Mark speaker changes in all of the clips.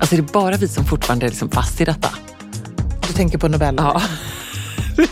Speaker 1: Alltså det är bara vi som fortfarande är liksom fast i detta.
Speaker 2: Du tänker på Nobel?
Speaker 1: Ja.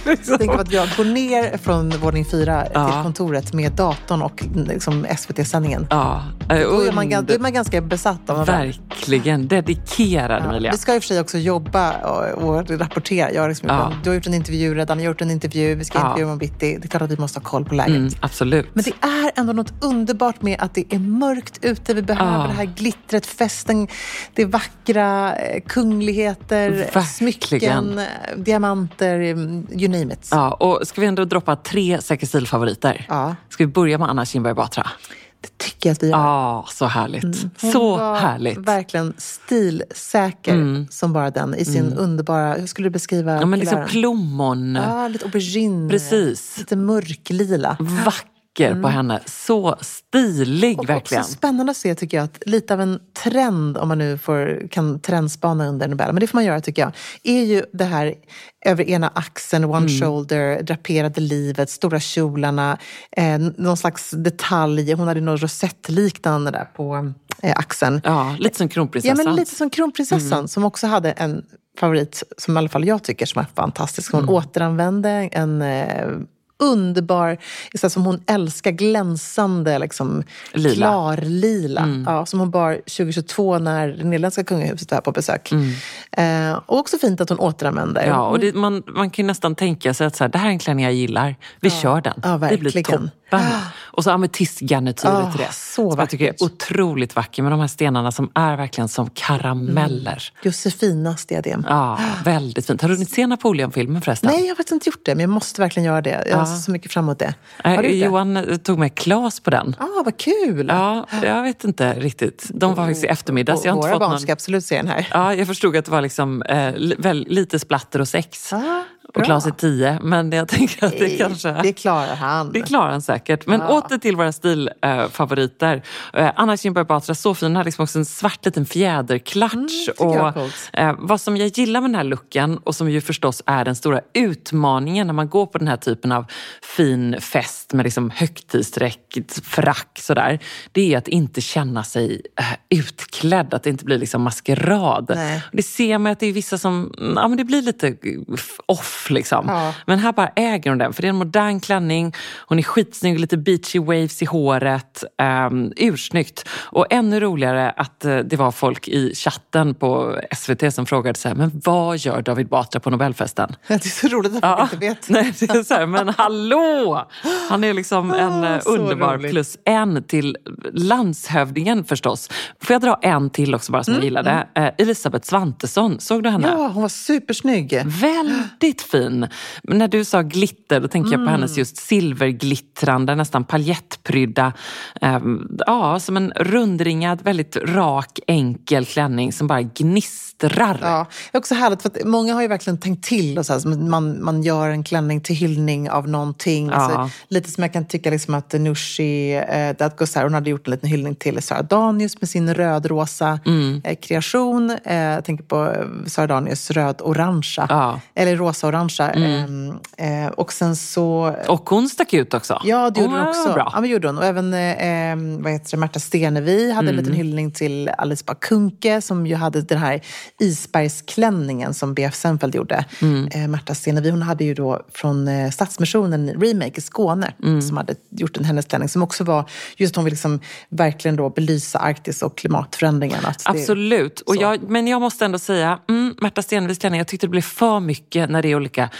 Speaker 1: liksom-
Speaker 2: Jag tänker på att jag går ner från våning fyra
Speaker 1: Ja.
Speaker 2: till kontoret med datorn och liksom SVT-sändningen.
Speaker 1: ja. eh,
Speaker 2: Då är man, gan- då är
Speaker 1: under-
Speaker 2: man ganska besatt av Nobel.
Speaker 1: Verkligen dedikerad
Speaker 2: Ja.
Speaker 1: Emilia.
Speaker 2: Vi ska i och för sig också jobba och, och rapportera. Jag har liksom,
Speaker 1: Ja.
Speaker 2: Du har gjort en intervju redan, jag har gjort en intervju, vi ska
Speaker 1: Ja.
Speaker 2: intervjua imorgon bitti. Det är klart att vi måste ha koll på läget.
Speaker 1: Mm, absolut.
Speaker 2: Men det är ändå något underbart med att det är mörkt ute. Vi behöver
Speaker 1: Ja.
Speaker 2: det här glittret, festen, det är vackra eh, kungligheter,
Speaker 1: Verkligen.
Speaker 2: smycken, eh, diamanter, mm, you name it.
Speaker 1: Ja, och ska vi ändå droppa tre Säker stil-favoriter?
Speaker 2: Ja.
Speaker 1: Ska vi börja med Anna Kinberg Batra?
Speaker 2: Det tycker jag att vi gör.
Speaker 1: Ja, så härligt.
Speaker 2: Mm, Hon
Speaker 1: Så
Speaker 2: var
Speaker 1: härligt. Mm.
Speaker 2: verkligen stilsäker som bara den i sin underbara, hur skulle du beskriva
Speaker 1: Ja, men liksom
Speaker 2: kulören?
Speaker 1: plommon.
Speaker 2: Ja, lite aubergine.
Speaker 1: Precis.
Speaker 2: Lite mörklila.
Speaker 1: Vacker på henne. Så stilig
Speaker 2: Mm. Och
Speaker 1: verkligen.
Speaker 2: också spännande att se, tycker jag, att lite av en trend, om man nu får, kan trendspana under Nobel, men det får man göra tycker jag, är ju det här över ena axeln, one
Speaker 1: Mm.
Speaker 2: shoulder, draperade livet, stora kjolarna, eh, någon slags detalj. Hon hade något rosettliknande där på eh, axeln.
Speaker 1: Ja, lite som kronprinsessan.
Speaker 2: Ja, men lite som kronprinsessan
Speaker 1: Mm.
Speaker 2: som också hade en favorit som i alla fall jag tycker som är fantastisk.
Speaker 1: Mm.
Speaker 2: Hon återanvände en eh, underbar, så här, som hon älskar, glänsande, liksom,
Speaker 1: Lila. Mm.
Speaker 2: klarlila. Ja, som hon bar 2022 när det nederländska kungahuset var här på besök. Eh, och också fint att hon återanvänder.
Speaker 1: Mm. Ja, och det, man, man kan ju nästan tänka sig att så här, det här är en klänning jag gillar. Vi kör den.
Speaker 2: Ja,
Speaker 1: det blir
Speaker 2: verkligen.
Speaker 1: toppen. Och så ametistgarnityret
Speaker 2: Ah,
Speaker 1: till det.
Speaker 2: så
Speaker 1: som jag tycker är
Speaker 2: vackert.
Speaker 1: otroligt vacker med de här stenarna som är verkligen som karameller.
Speaker 2: Josefinas diadem.
Speaker 1: Ja, väldigt fint. Har du hunnit se Napoleon-filmen förresten?
Speaker 2: Nej, jag har faktiskt inte gjort det, men jag måste verkligen göra det. Jag ser så mycket fram emot det. Har du
Speaker 1: Nej,
Speaker 2: gjort det?
Speaker 1: Johan eh, tog med Claes på den.
Speaker 2: Ah, vad kul!
Speaker 1: Ja, jag vet inte riktigt. De var faktiskt i eftermiddag. Så jag har inte
Speaker 2: Mm. Våra
Speaker 1: fått
Speaker 2: barn
Speaker 1: någon...
Speaker 2: ska absolut se den här.
Speaker 1: Ja, jag förstod att det var liksom, eh, li- väl, lite splatter och sex.
Speaker 2: Ah,
Speaker 1: och
Speaker 2: bra.
Speaker 1: Claes är tio, men jag tänker att det kanske...
Speaker 2: Det klarar han.
Speaker 1: Det klarar han säkert. Men åter till våra stilfavoriter. Eh, Anna Kinberg Batra, så fin. Hon hade liksom också en svart liten fjäderklatsch.
Speaker 2: Mm, jag är
Speaker 1: och,
Speaker 2: coolt.
Speaker 1: eh, vad som jag gillar med den här looken och som ju förstås är den stora utmaningen när man går på den här typen av fin fest med liksom högtidsdräkt, frack sådär. Det är att inte känna sig eh, utklädd, att det inte blir liksom maskerad.
Speaker 2: Nej.
Speaker 1: Det ser man att det är vissa som, ja men det blir lite off liksom.
Speaker 2: Ja.
Speaker 1: Men här bara äger hon den, för det är en modern klänning. Hon är skitsnygg, lite beachy waves i håret. Um, ursnyggt. Och ännu roligare att eh, det var folk i chatten på SVT som frågade så här, men vad gör David Batra på Nobelfesten?
Speaker 2: Det är så roligt att
Speaker 1: Ja.
Speaker 2: folk inte vet.
Speaker 1: Nej, det är så här, men hallå! Han är liksom en
Speaker 2: Ah,
Speaker 1: eh,
Speaker 2: så
Speaker 1: underbar
Speaker 2: roligt.
Speaker 1: plus en till landshövdingen förstås. Får jag dra en till också bara som jag gillade? Eh, Elisabeth Svantesson, såg du henne?
Speaker 2: Mm, Ja, hon var supersnygg.
Speaker 1: Mm. Väldigt fin. Men när du sa glitter, då tänker jag på
Speaker 2: Mm.
Speaker 1: hennes just silverglittrande, nästan paljettprydda, eh, ja, som en rundringad, väldigt rak, enkel klänning som bara gnistrar.
Speaker 2: Ja, det är också härligt för att många har ju verkligen tänkt till och så här, så man, man gör en klänning till hyllning av någonting. Alltså, lite som jag kan tycka liksom att Nooshi eh, Dadgostar, hon hade gjort en liten hyllning till Sara Danius med sin rödrosa
Speaker 1: Mm.
Speaker 2: eh, kreation. Eh, jag tänker på eh, Sara Danius röd-orangea,
Speaker 1: Ja. Mm.
Speaker 2: eller rosa-orangea. Eh, eh, och sen så
Speaker 1: Och hon stack ut också.
Speaker 2: Ja, det gjorde
Speaker 1: Hon
Speaker 2: hon
Speaker 1: var
Speaker 2: också.
Speaker 1: Bra.
Speaker 2: Ja, men gjorde hon. Och även eh, eh, vad heter det, Märta Stenevi hade en liten
Speaker 1: Mm.
Speaker 2: hyllning till Alice Bah Kuhnke som ju hade den här isbergsklänningen som BF Sennfeldt gjorde.
Speaker 1: Mm.
Speaker 2: Eh, Märta Stenevi hon hade ju då från eh, Stadsmissionen Remake i Skåne
Speaker 1: Mm.
Speaker 2: som hade gjort en hennes klänning som också var just hon vill liksom verkligen då belysa Arktis och klimatförändringarna. Att det-
Speaker 1: Absolut. Och
Speaker 2: så.
Speaker 1: jag, men jag måste ändå säga, mm, Märta Stenevis klänning, jag tyckte det blev för mycket när det är olika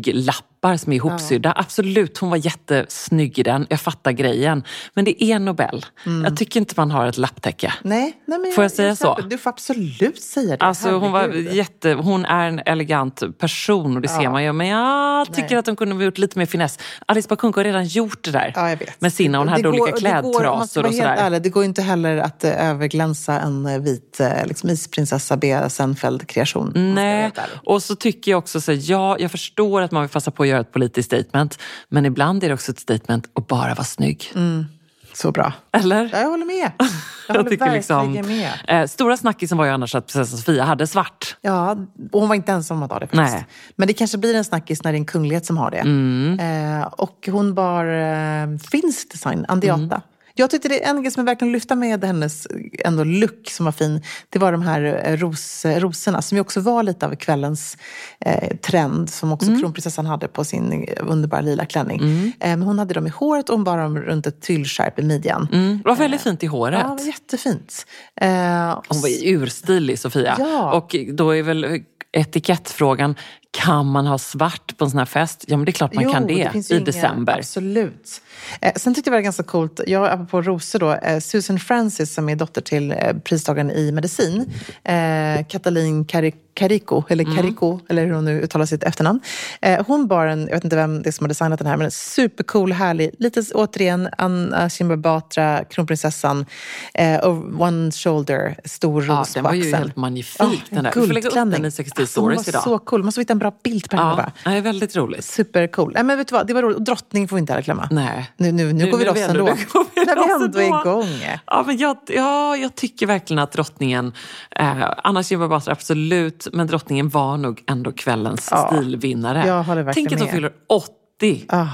Speaker 1: tyglappar som är ihopsydda. Absolut, hon var jättesnygg i den. Jag fattar grejen. Men det är Nobel.
Speaker 2: Mm.
Speaker 1: Jag tycker inte man har ett lapptäcke.
Speaker 2: Nej, nej, men
Speaker 1: Får jag säga så?
Speaker 2: Du får absolut säga det.
Speaker 1: Alltså hon, var
Speaker 2: Herregud.
Speaker 1: jätte, hon är en elegant person och det ser man ju. Men jag tycker
Speaker 2: Nej.
Speaker 1: att hon kunde ha gjort lite mer finess. Alice Bah Kuhnke har redan gjort det där
Speaker 2: Ja, jag vet.
Speaker 1: med sina. Hon
Speaker 2: Det
Speaker 1: hade
Speaker 2: går-
Speaker 1: olika
Speaker 2: det går- om man ska
Speaker 1: klädtrasor
Speaker 2: vara
Speaker 1: och
Speaker 2: helt
Speaker 1: sådär.
Speaker 2: ärlig, det går ju inte heller att eh, överglänsa en eh, vit eh, liksom, isprinsessa Bea Senfeld-kreation. om man ska vara
Speaker 1: Nej,
Speaker 2: helt ärlig.
Speaker 1: och så tycker jag också så här, ja, jag förstår att man vill passa på att göra ett politiskt statement, men ibland är det också ett statement att bara vara snygg.
Speaker 2: Så bra.
Speaker 1: Eller?
Speaker 2: Mm. Ja, Jag håller med. Jag, håller verkligen med.
Speaker 1: eh, stora snackisen var ju annars att prinsessan Sofia hade svart.
Speaker 2: Ja, och hon var inte ensam om att ha det faktiskt.
Speaker 1: Nej. Mm.
Speaker 2: Men det kanske blir en snackis när det är en
Speaker 1: Mm.
Speaker 2: kunglighet som har det. Eh, och hon bar eh, finsk design, Andiata. Jag tyckte det en grej som jag verkligen lyfte med hennes ändå look som var fin, det var de här eh, ros, rosorna som ju också var lite av kvällens eh, trend som
Speaker 1: Mm.
Speaker 2: också kronprinsessan hade på sin underbara lila klänning. Eh, men hon hade dem i håret och hon bar dem runt ett tyllskärp i midjan.
Speaker 1: Mm, det var väldigt fint i håret.
Speaker 2: Eh. Ja, det var jättefint. Eh, och
Speaker 1: Hon var ju urstilig, Sofia.
Speaker 2: Ja.
Speaker 1: Och då är väl etikettfrågan, kan man ha svart på en sån här fest? Ja, men det är klart man kan det,
Speaker 2: finns ju
Speaker 1: i
Speaker 2: inga-
Speaker 1: december.
Speaker 2: Absolut. Eh, sen tyckte jag det var ganska coolt, jag apropå rosor då, eh, Susan Francis som är dotter till eh, pristagaren i medicin, eh, Katalin Kari- Kariko, eller
Speaker 1: Mm.
Speaker 2: Kariko, eller hur hon nu uttalar sitt efternamn. Eh, hon bar en, jag vet inte vem det är som har designat den här, men en supercool, härlig, lite återigen Anna Kinberg Batra, kronprinsessan, eh, och one shoulder, stor ros
Speaker 1: Ja, den
Speaker 2: på
Speaker 1: var ju
Speaker 2: axeln.
Speaker 1: helt magnifik.
Speaker 2: Ja,
Speaker 1: den där.
Speaker 2: en
Speaker 1: Vi får lägga upp den
Speaker 2: guldklänning.
Speaker 1: i 60
Speaker 2: Alltså, hon
Speaker 1: stories
Speaker 2: var
Speaker 1: idag.
Speaker 2: så cool, måste vi hitta en bra bild på henne
Speaker 1: ja,
Speaker 2: bara.
Speaker 1: det är väldigt roligt.
Speaker 2: Supercool. Nej, men vet du vad? Det var roligt. Och drottning får vi inte heller glömma.
Speaker 1: Nej.
Speaker 2: Nu, nu, nu, går vi
Speaker 1: när
Speaker 2: loss ändå.
Speaker 1: nu går vi
Speaker 2: När
Speaker 1: loss
Speaker 2: vi ändå är
Speaker 1: ändå.
Speaker 2: igång.
Speaker 1: Ja, men jag, ja, jag tycker verkligen att drottningen, eh, Anna Kinberg Batra absolut, men drottningen var nog ändå kvällens
Speaker 2: Ja,
Speaker 1: stilvinnare.
Speaker 2: jag håller verkligen
Speaker 1: Tänk att hon
Speaker 2: med.
Speaker 1: fyller 80
Speaker 2: Ah,
Speaker 1: den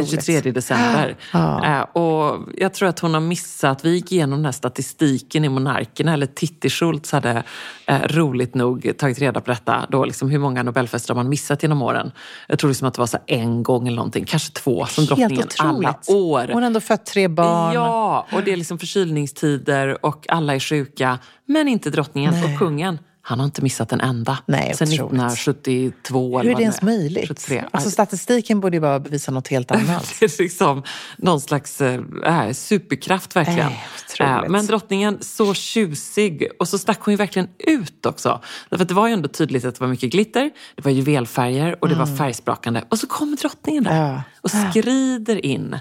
Speaker 2: otroligt. Ah.
Speaker 1: 23 december.
Speaker 2: Ja.
Speaker 1: Eh, och jag tror att hon har missat, vi gick igenom den här statistiken i Monarkerna, eller Titti Schultz hade eh, roligt nog tagit reda på detta, då liksom hur många Nobelfester har man missat genom åren. Jag tror liksom att det var så här en gång eller någonting, kanske två som drottningen alla år.
Speaker 2: Hon har ändå fött tre barn.
Speaker 1: Ja, och det är liksom förkylningstider och alla är sjuka. Men inte drottningen och kungen. Han har inte missat en enda.
Speaker 2: Nej,
Speaker 1: Sen
Speaker 2: otroligt.
Speaker 1: 1972
Speaker 2: Hur
Speaker 1: eller
Speaker 2: är
Speaker 1: vad
Speaker 2: det ens
Speaker 1: är.
Speaker 2: möjligt?
Speaker 1: 73.
Speaker 2: Alltså, statistiken borde ju bara bevisa något helt annat.
Speaker 1: Det är liksom någon slags eh, äh, superkraft verkligen.
Speaker 2: Nej, otroligt.
Speaker 1: Äh, men drottningen, så tjusig. Och så stack hon ju verkligen ut också. Därför att det var ju ändå tydligt att det var mycket glitter, det var juvelfärger och det var färgsprakande. Och så kommer drottningen där
Speaker 2: Mm. Ja.
Speaker 1: och skrider in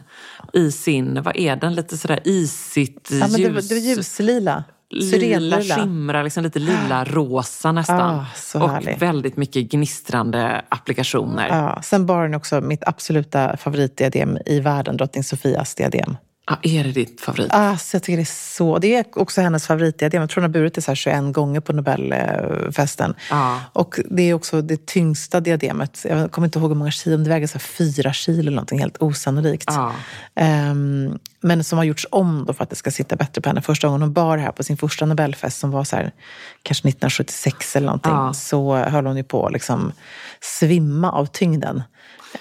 Speaker 1: i sin, vad är den, lite sådär isigt
Speaker 2: ja, men det, var,
Speaker 1: ljus
Speaker 2: det var ljuslila.
Speaker 1: lila
Speaker 2: Syrenlila.
Speaker 1: skimrar, liksom lite lila rosa nästan.
Speaker 2: Ah, så
Speaker 1: och
Speaker 2: härligt.
Speaker 1: väldigt mycket gnistrande applikationer.
Speaker 2: Ja, sen bar hon också mitt absoluta favoritdiadem i världen, drottning Sofias diadem.
Speaker 1: Ja, är det ditt favorit?
Speaker 2: Alltså, jag tycker det är så... Det är också hennes favoritdiadem. Jag tror hon har burit det så här 21 gånger på Nobelfesten.
Speaker 1: Ja.
Speaker 2: Och det är också det tyngsta diademet. Jag kommer inte ihåg hur många kilo, men det väger så här fyra kilo eller någonting helt osannolikt.
Speaker 1: Ja.
Speaker 2: Ehm, men som har gjorts om då för att det ska sitta bättre på henne. Första gången hon bar det här på sin första Nobelfest som var så här, kanske 1976 eller någonting,
Speaker 1: Ja.
Speaker 2: så höll hon ju på att liksom svimma av tyngden.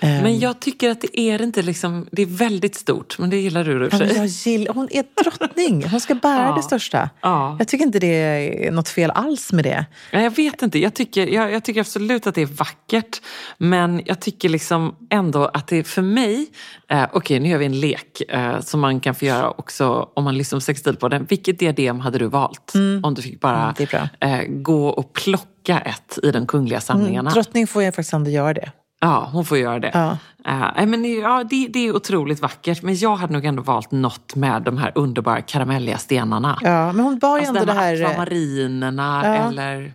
Speaker 2: Ehm,
Speaker 1: Men jag tycker att det är inte liksom, det är väldigt stort, men det gillar du i och för
Speaker 2: Ja, men
Speaker 1: sig.
Speaker 2: jag gillar, hon är drottning. Hon ska bära
Speaker 1: Ja.
Speaker 2: det största.
Speaker 1: Ja.
Speaker 2: Jag tycker inte det är något fel alls med det.
Speaker 1: Nej, Jag vet inte, jag tycker, jag, jag tycker absolut att det är vackert, men jag tycker liksom ändå att det är för mig, eh, okej nu gör vi en lek eh, som man kan få göra också om man lyssnar på Sextilpodden. Vilket diadem hade du valt om du fick bara
Speaker 2: Mm, det är bra.
Speaker 1: eh, gå och plocka ett i de kungliga samlingarna?
Speaker 2: Drottning får jag faktiskt ändå göra det.
Speaker 1: Ja, hon får göra det.
Speaker 2: Mm, Ja.
Speaker 1: Eh, nej, men, ja, det, det är otroligt vackert, men jag hade nog ändå valt något med de här underbara karamelliga stenarna.
Speaker 2: Ja, men hon bar ju
Speaker 1: Alltså
Speaker 2: ändå
Speaker 1: den
Speaker 2: det här... eh,
Speaker 1: akvamarinerna
Speaker 2: Ja.
Speaker 1: eller...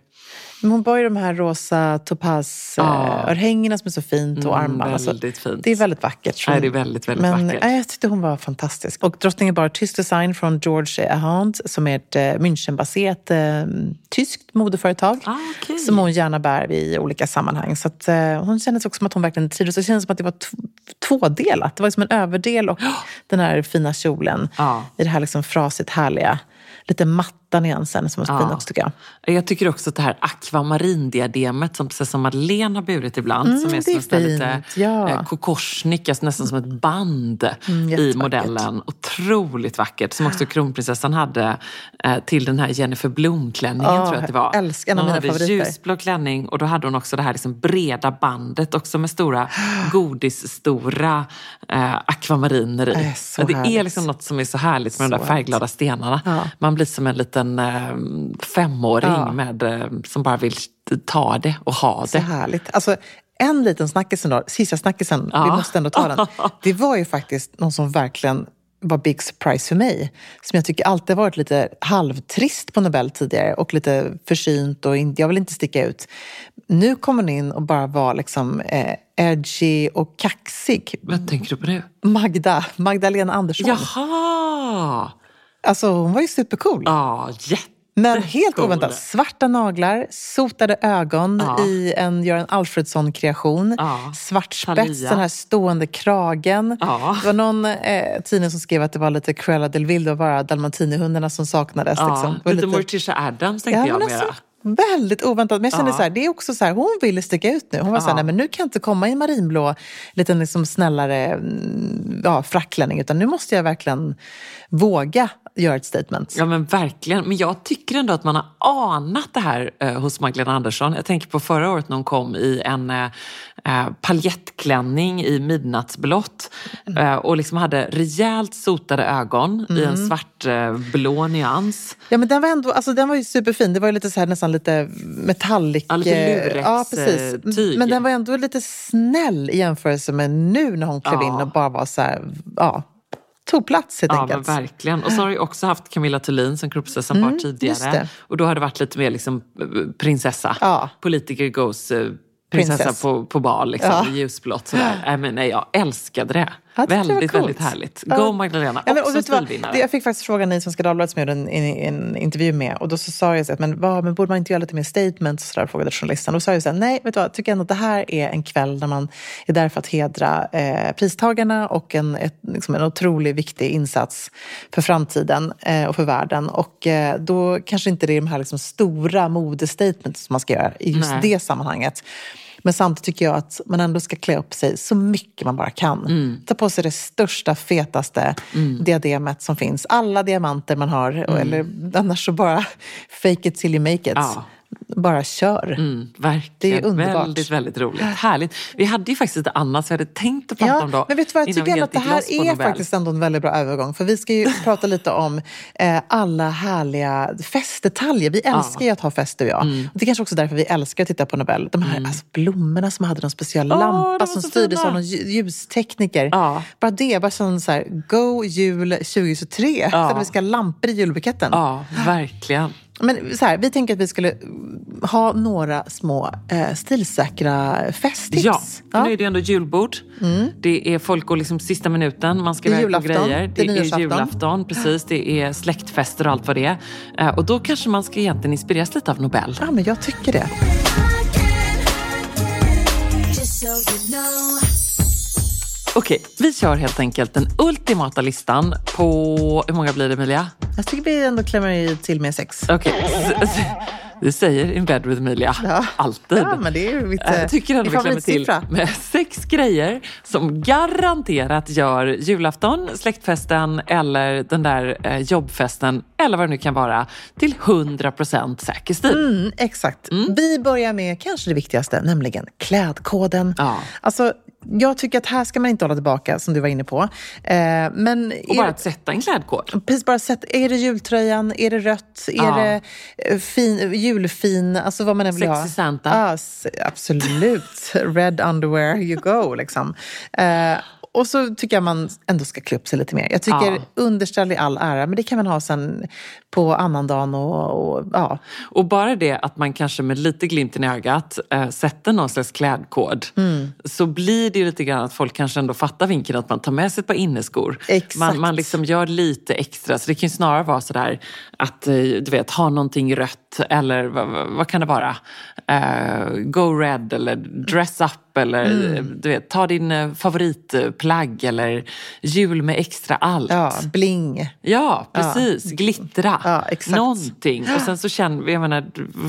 Speaker 2: Men hon bar ju de här rosa topazörhängena
Speaker 1: Ja.
Speaker 2: örhängena som är så fint och
Speaker 1: Mm,
Speaker 2: armband. Alltså,
Speaker 1: väldigt fint.
Speaker 2: det är väldigt vackert.
Speaker 1: Nej, det är väldigt, väldigt
Speaker 2: men,
Speaker 1: vackert.
Speaker 2: nej, jag tyckte hon var fantastisk. Och drottningen bar tysk design från George Ahand som är ett eh, Münchenbaserat eh, tyskt modeföretag.
Speaker 1: Ah, okej.
Speaker 2: Som hon gärna bär i olika sammanhang. Så att, eh, hon kändes också som att hon verkligen trivdes. Det kändes som att det var tv- tvådelat. Det var liksom en överdel och den här fina kjolen.
Speaker 1: Ja.
Speaker 2: I det här liksom frasigt härliga, lite matta nyansen som var så
Speaker 1: Ja.
Speaker 2: fin också tycker jag.
Speaker 1: Jag tycker också att det här akvamarindiademet som prinsessan Madeleine har burit ibland,
Speaker 2: Mm,
Speaker 1: som är
Speaker 2: det
Speaker 1: som
Speaker 2: är
Speaker 1: en sån här lite
Speaker 2: fint, ja. Mm,
Speaker 1: eh, kokorsnick, alltså nästan som ett band i
Speaker 2: jättevackert.
Speaker 1: modellen. Otroligt vackert, som också kronprinsessan hade eh, till den här Jennifer Blom-klänningen
Speaker 2: Ja,
Speaker 1: tror jag att det var.
Speaker 2: jag älskar en av
Speaker 1: hon
Speaker 2: mina
Speaker 1: hade
Speaker 2: favoriter.
Speaker 1: ljusblå klänning och då hade hon också det här liksom breda bandet också med stora godisstora eh, akvamariner i.
Speaker 2: Äh, så
Speaker 1: Men det är
Speaker 2: härligt.
Speaker 1: liksom något som är så härligt med de där
Speaker 2: Så härligt.
Speaker 1: färgglada stenarna.
Speaker 2: Ja.
Speaker 1: Man blir som en liten eh, femåring
Speaker 2: Ja.
Speaker 1: med, eh, som bara vill ta det och ha
Speaker 2: Så
Speaker 1: det.
Speaker 2: härligt. Alltså, en liten snackis ändå, sista snackisen, vi
Speaker 1: Ja.
Speaker 2: måste ändå ta den. Det var ju faktiskt någon som verkligen var big surprise för mig. Som jag tycker alltid har varit lite halvtrist på Nobel tidigare och lite försynt och in, jag vill inte sticka ut. Nu kommer hon in och bara var liksom eh, edgy och kaxig.
Speaker 1: Vad tänker du på nu?
Speaker 2: Magda, Magdalena Andersson.
Speaker 1: Jaha!
Speaker 2: Alltså hon var ju supercool.
Speaker 1: Ja,
Speaker 2: Men helt oväntat, svarta naglar, sotade ögon
Speaker 1: Ja.
Speaker 2: i en Göran Alfredsson-kreation.
Speaker 1: Ja.
Speaker 2: Svart spets,
Speaker 1: Talia.
Speaker 2: den här stående kragen.
Speaker 1: Ja.
Speaker 2: Det var någon eh, tidning som skrev att det var lite Cruella del Vil, det var bara dalmatinihundarna som saknades. liksom.
Speaker 1: Ja,
Speaker 2: Det var
Speaker 1: lite, Morticia Adams tänkte jag
Speaker 2: men
Speaker 1: mera.
Speaker 2: alltså, Väldigt oväntat. Men jag kände så här, det är också så här, hon ville sticka ut nu. Hon var så här, nej men nu kan jag inte komma i marinblå, lite liksom snällare mm, ja, frackklänning, utan nu måste jag verkligen våga göra ett statement.
Speaker 1: Ja men verkligen. Men jag tycker ändå att man har anat det här eh, hos Magdalena Andersson. Jag tänker på förra året när hon kom i en eh, eh, paljettklänning i midnattsblått eh, och liksom hade rejält sotade ögon i en svartblå eh, blå nyans.
Speaker 2: Ja, men den var ändå, alltså den var ju superfin. Det var ju lite så här nästan lite metallic.
Speaker 1: Ja, lite lurex,
Speaker 2: ja, precis. Mm,
Speaker 1: eh, tyg.
Speaker 2: Men den var ändå lite snäll i jämförelse med nu när hon klev
Speaker 1: Ja.
Speaker 2: in och bara var så här, ja, tog plats helt
Speaker 1: Ja men
Speaker 2: enkelt. Mm,
Speaker 1: verkligen. Och så har du också haft Camilla Thulin som kronprinsessan var
Speaker 2: just
Speaker 1: tidigare.
Speaker 2: det.
Speaker 1: Och då har det varit lite mer liksom eh, prinsessa.
Speaker 2: Ja.
Speaker 1: Politiker goes eh, prinsessa
Speaker 2: Princess.
Speaker 1: på, på bal, liksom,
Speaker 2: Ja.
Speaker 1: i ljusblått. Sådär. Nej, men, nej, jag älskade det.
Speaker 2: Ja, det var
Speaker 1: väldigt,
Speaker 2: coolt.
Speaker 1: väldigt härligt. Go
Speaker 2: Ja.
Speaker 1: Magdalena,
Speaker 2: Ja, men, och
Speaker 1: också
Speaker 2: vet du vad? Det-
Speaker 1: stilvinnare.
Speaker 2: jag fick faktiskt frågan i Svenska Dagbladet som jag gjorde en, en, en intervju med och då så sa jag så att, men, vad, men borde man inte göra lite mer statements och sådär, frågade journalisten. Då sa jag så här, nej, vet du vad, jag tycker ändå att det här är en kväll där man är där för att hedra eh, pristagarna och en, ett, liksom en otroligt viktig insats för framtiden eh, och för världen. Och eh, då kanske inte det är de här liksom, stora modestatements som man ska göra i just
Speaker 1: Nej.
Speaker 2: det sammanhanget. Men samtidigt tycker jag att man ändå ska klä upp sig så mycket man bara kan.
Speaker 1: Mm.
Speaker 2: Ta på sig det största, fetaste diademet som finns. Alla diamanter man har,
Speaker 1: Mm.
Speaker 2: och- eller annars så bara fake it till you make it.
Speaker 1: Ja.
Speaker 2: Bara kör.
Speaker 1: Mm, verkligen.
Speaker 2: Det är underbart.
Speaker 1: Väldigt, väldigt roligt. Härligt. Vi hade ju faktiskt lite annat som jag hade tänkt att prata om då.
Speaker 2: Ja, men vet du vad, jag
Speaker 1: innan
Speaker 2: tycker
Speaker 1: vi
Speaker 2: ändå att det
Speaker 1: helt gick loss på
Speaker 2: här är
Speaker 1: Nobel.
Speaker 2: faktiskt ändå en väldigt bra övergång. För vi ska ju prata lite om eh, alla härliga festdetaljer. Vi älskar ju att ha fest du och jag.
Speaker 1: Mm.
Speaker 2: Och det är kanske också därför vi älskar att titta på Nobel. De här alltså, blommorna som hade någon speciell
Speaker 1: Åh, de var
Speaker 2: lampa som
Speaker 1: så
Speaker 2: styrdes
Speaker 1: fina.
Speaker 2: av någon lju- ljustekniker.
Speaker 1: Ja.
Speaker 2: Bara det, jag bara kände så här, go jul 2023. Så att vi ska ha lampor i julbuketten.
Speaker 1: Ja, verkligen.
Speaker 2: Men så här, vi tänker att vi skulle mm, ha några små eh, stilsäkra festtips.
Speaker 1: Ja, för nu är det ju ändå julbord. Det är folk och liksom sista minuten, man ska
Speaker 2: Mm. Det är
Speaker 1: iväg på
Speaker 2: julafton,
Speaker 1: grejer.
Speaker 2: det är
Speaker 1: är
Speaker 2: nyårsafton.
Speaker 1: julafton, precis. Det är släktfester och allt vad det är. Eh, Och då kanske man ska egentligen inspireras lite av Nobel.
Speaker 2: ja, men jag tycker det.
Speaker 3: Just so you know.
Speaker 1: Okej, vi kör helt enkelt den ultimata listan på... Hur många blir det, Emilia?
Speaker 2: Jag tycker vi ändå klämmer ju till med sex.
Speaker 1: Okej. s- s- Du säger In bed with Emilia. Alltid.
Speaker 2: Ja, men det är ju mitt,
Speaker 1: Eh, Jag tycker ändå vi
Speaker 2: min
Speaker 1: klämmer till
Speaker 2: favoritsiffra.
Speaker 1: med sex grejer som garanterat gör julafton, släktfesten eller den där eh, jobbfesten eller vad det nu kan vara till 100% säker stil.
Speaker 2: Mm, exakt. Vi börjar med kanske det viktigaste, nämligen klädkoden.
Speaker 1: Ja.
Speaker 2: Alltså, jag tycker att här ska man inte hålla tillbaka, som du var inne på. Eh, men
Speaker 1: Och
Speaker 2: är-
Speaker 1: bara att sätta en klädkod.
Speaker 2: Precis, bara sett, är det jultröjan, är det rött, är
Speaker 1: Ja.
Speaker 2: det eh, fin, julfin, alltså vad man än vill ha.
Speaker 1: Sexy Santa.
Speaker 2: Ja, s- absolut. Red underwear, you go liksom. Eh, och så tycker jag man ändå ska klä upp sig lite mer. Jag tycker
Speaker 1: Ja.
Speaker 2: underställ i all ära, men det kan man ha sen på annandagen och, och ja.
Speaker 1: Och bara det att man kanske med lite glimten i ögat eh, sätter någon slags klädkod så blir det ju lite grann att folk kanske ändå fattar vinkeln att man tar med sig ett par inneskor.
Speaker 2: Exakt.
Speaker 1: Man, man liksom gör lite extra. Så det kan ju snarare vara sådär att eh, du vet, ha någonting rött eller vad, vad- vad kan det vara? Eh, go red eller dress up eller eh, du vet, ta din eh, favoritplagg eller jul med extra allt.
Speaker 2: ja bling.
Speaker 1: Ja, precis. Glittra.
Speaker 2: Ja, exakt.
Speaker 1: Någonting. Och sen så känner, jag menar,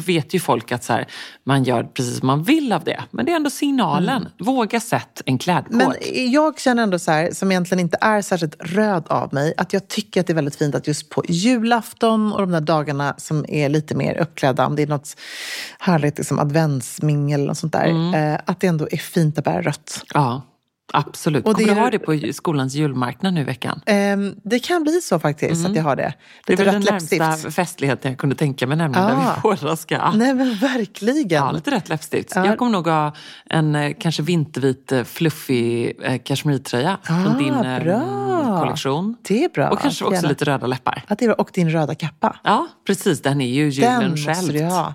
Speaker 1: vet ju folk att så här, man gör precis som man vill av det. Men det är ändå signalen. Våga sätt en klädkod.
Speaker 2: Mm. Men jag känner ändå så här, som egentligen inte är särskilt röd av mig, att jag tycker att det är väldigt fint att just på julafton och de där dagarna som är lite mer uppklädda, om det är något härligt liksom adventsmingel och sånt där,
Speaker 1: Mm.
Speaker 2: eh, att det ändå är fint att bära rött.
Speaker 1: Ja, absolut.
Speaker 2: Och
Speaker 1: Kommer
Speaker 2: det
Speaker 1: du ha
Speaker 2: är-
Speaker 1: det på ju- skolans julmarknad nu i veckan?
Speaker 2: Ehm, det kan bli så faktiskt, att jag har det.
Speaker 1: Mm. Det är
Speaker 2: Lite
Speaker 1: väl den
Speaker 2: rött läppstift.
Speaker 1: närmsta festligheten jag kunde tänka mig nämligen, där vi
Speaker 2: Ah.
Speaker 1: båda ska
Speaker 2: Nej men verkligen.
Speaker 1: Ja, lite rött läppstift.
Speaker 2: Ja.
Speaker 1: Jag kommer nog ha en eh, kanske vintervit eh, fluffig eh, kashmirtröja från
Speaker 2: Ah,
Speaker 1: din eh,
Speaker 2: bra.
Speaker 1: kollektion.
Speaker 2: Det är bra.
Speaker 1: Och kanske också
Speaker 2: Gärna.
Speaker 1: lite röda läppar.
Speaker 2: Att det är, och din röda kappa.
Speaker 1: Ja, precis. Den är ju julen
Speaker 2: den
Speaker 1: själv.
Speaker 2: måste du ha.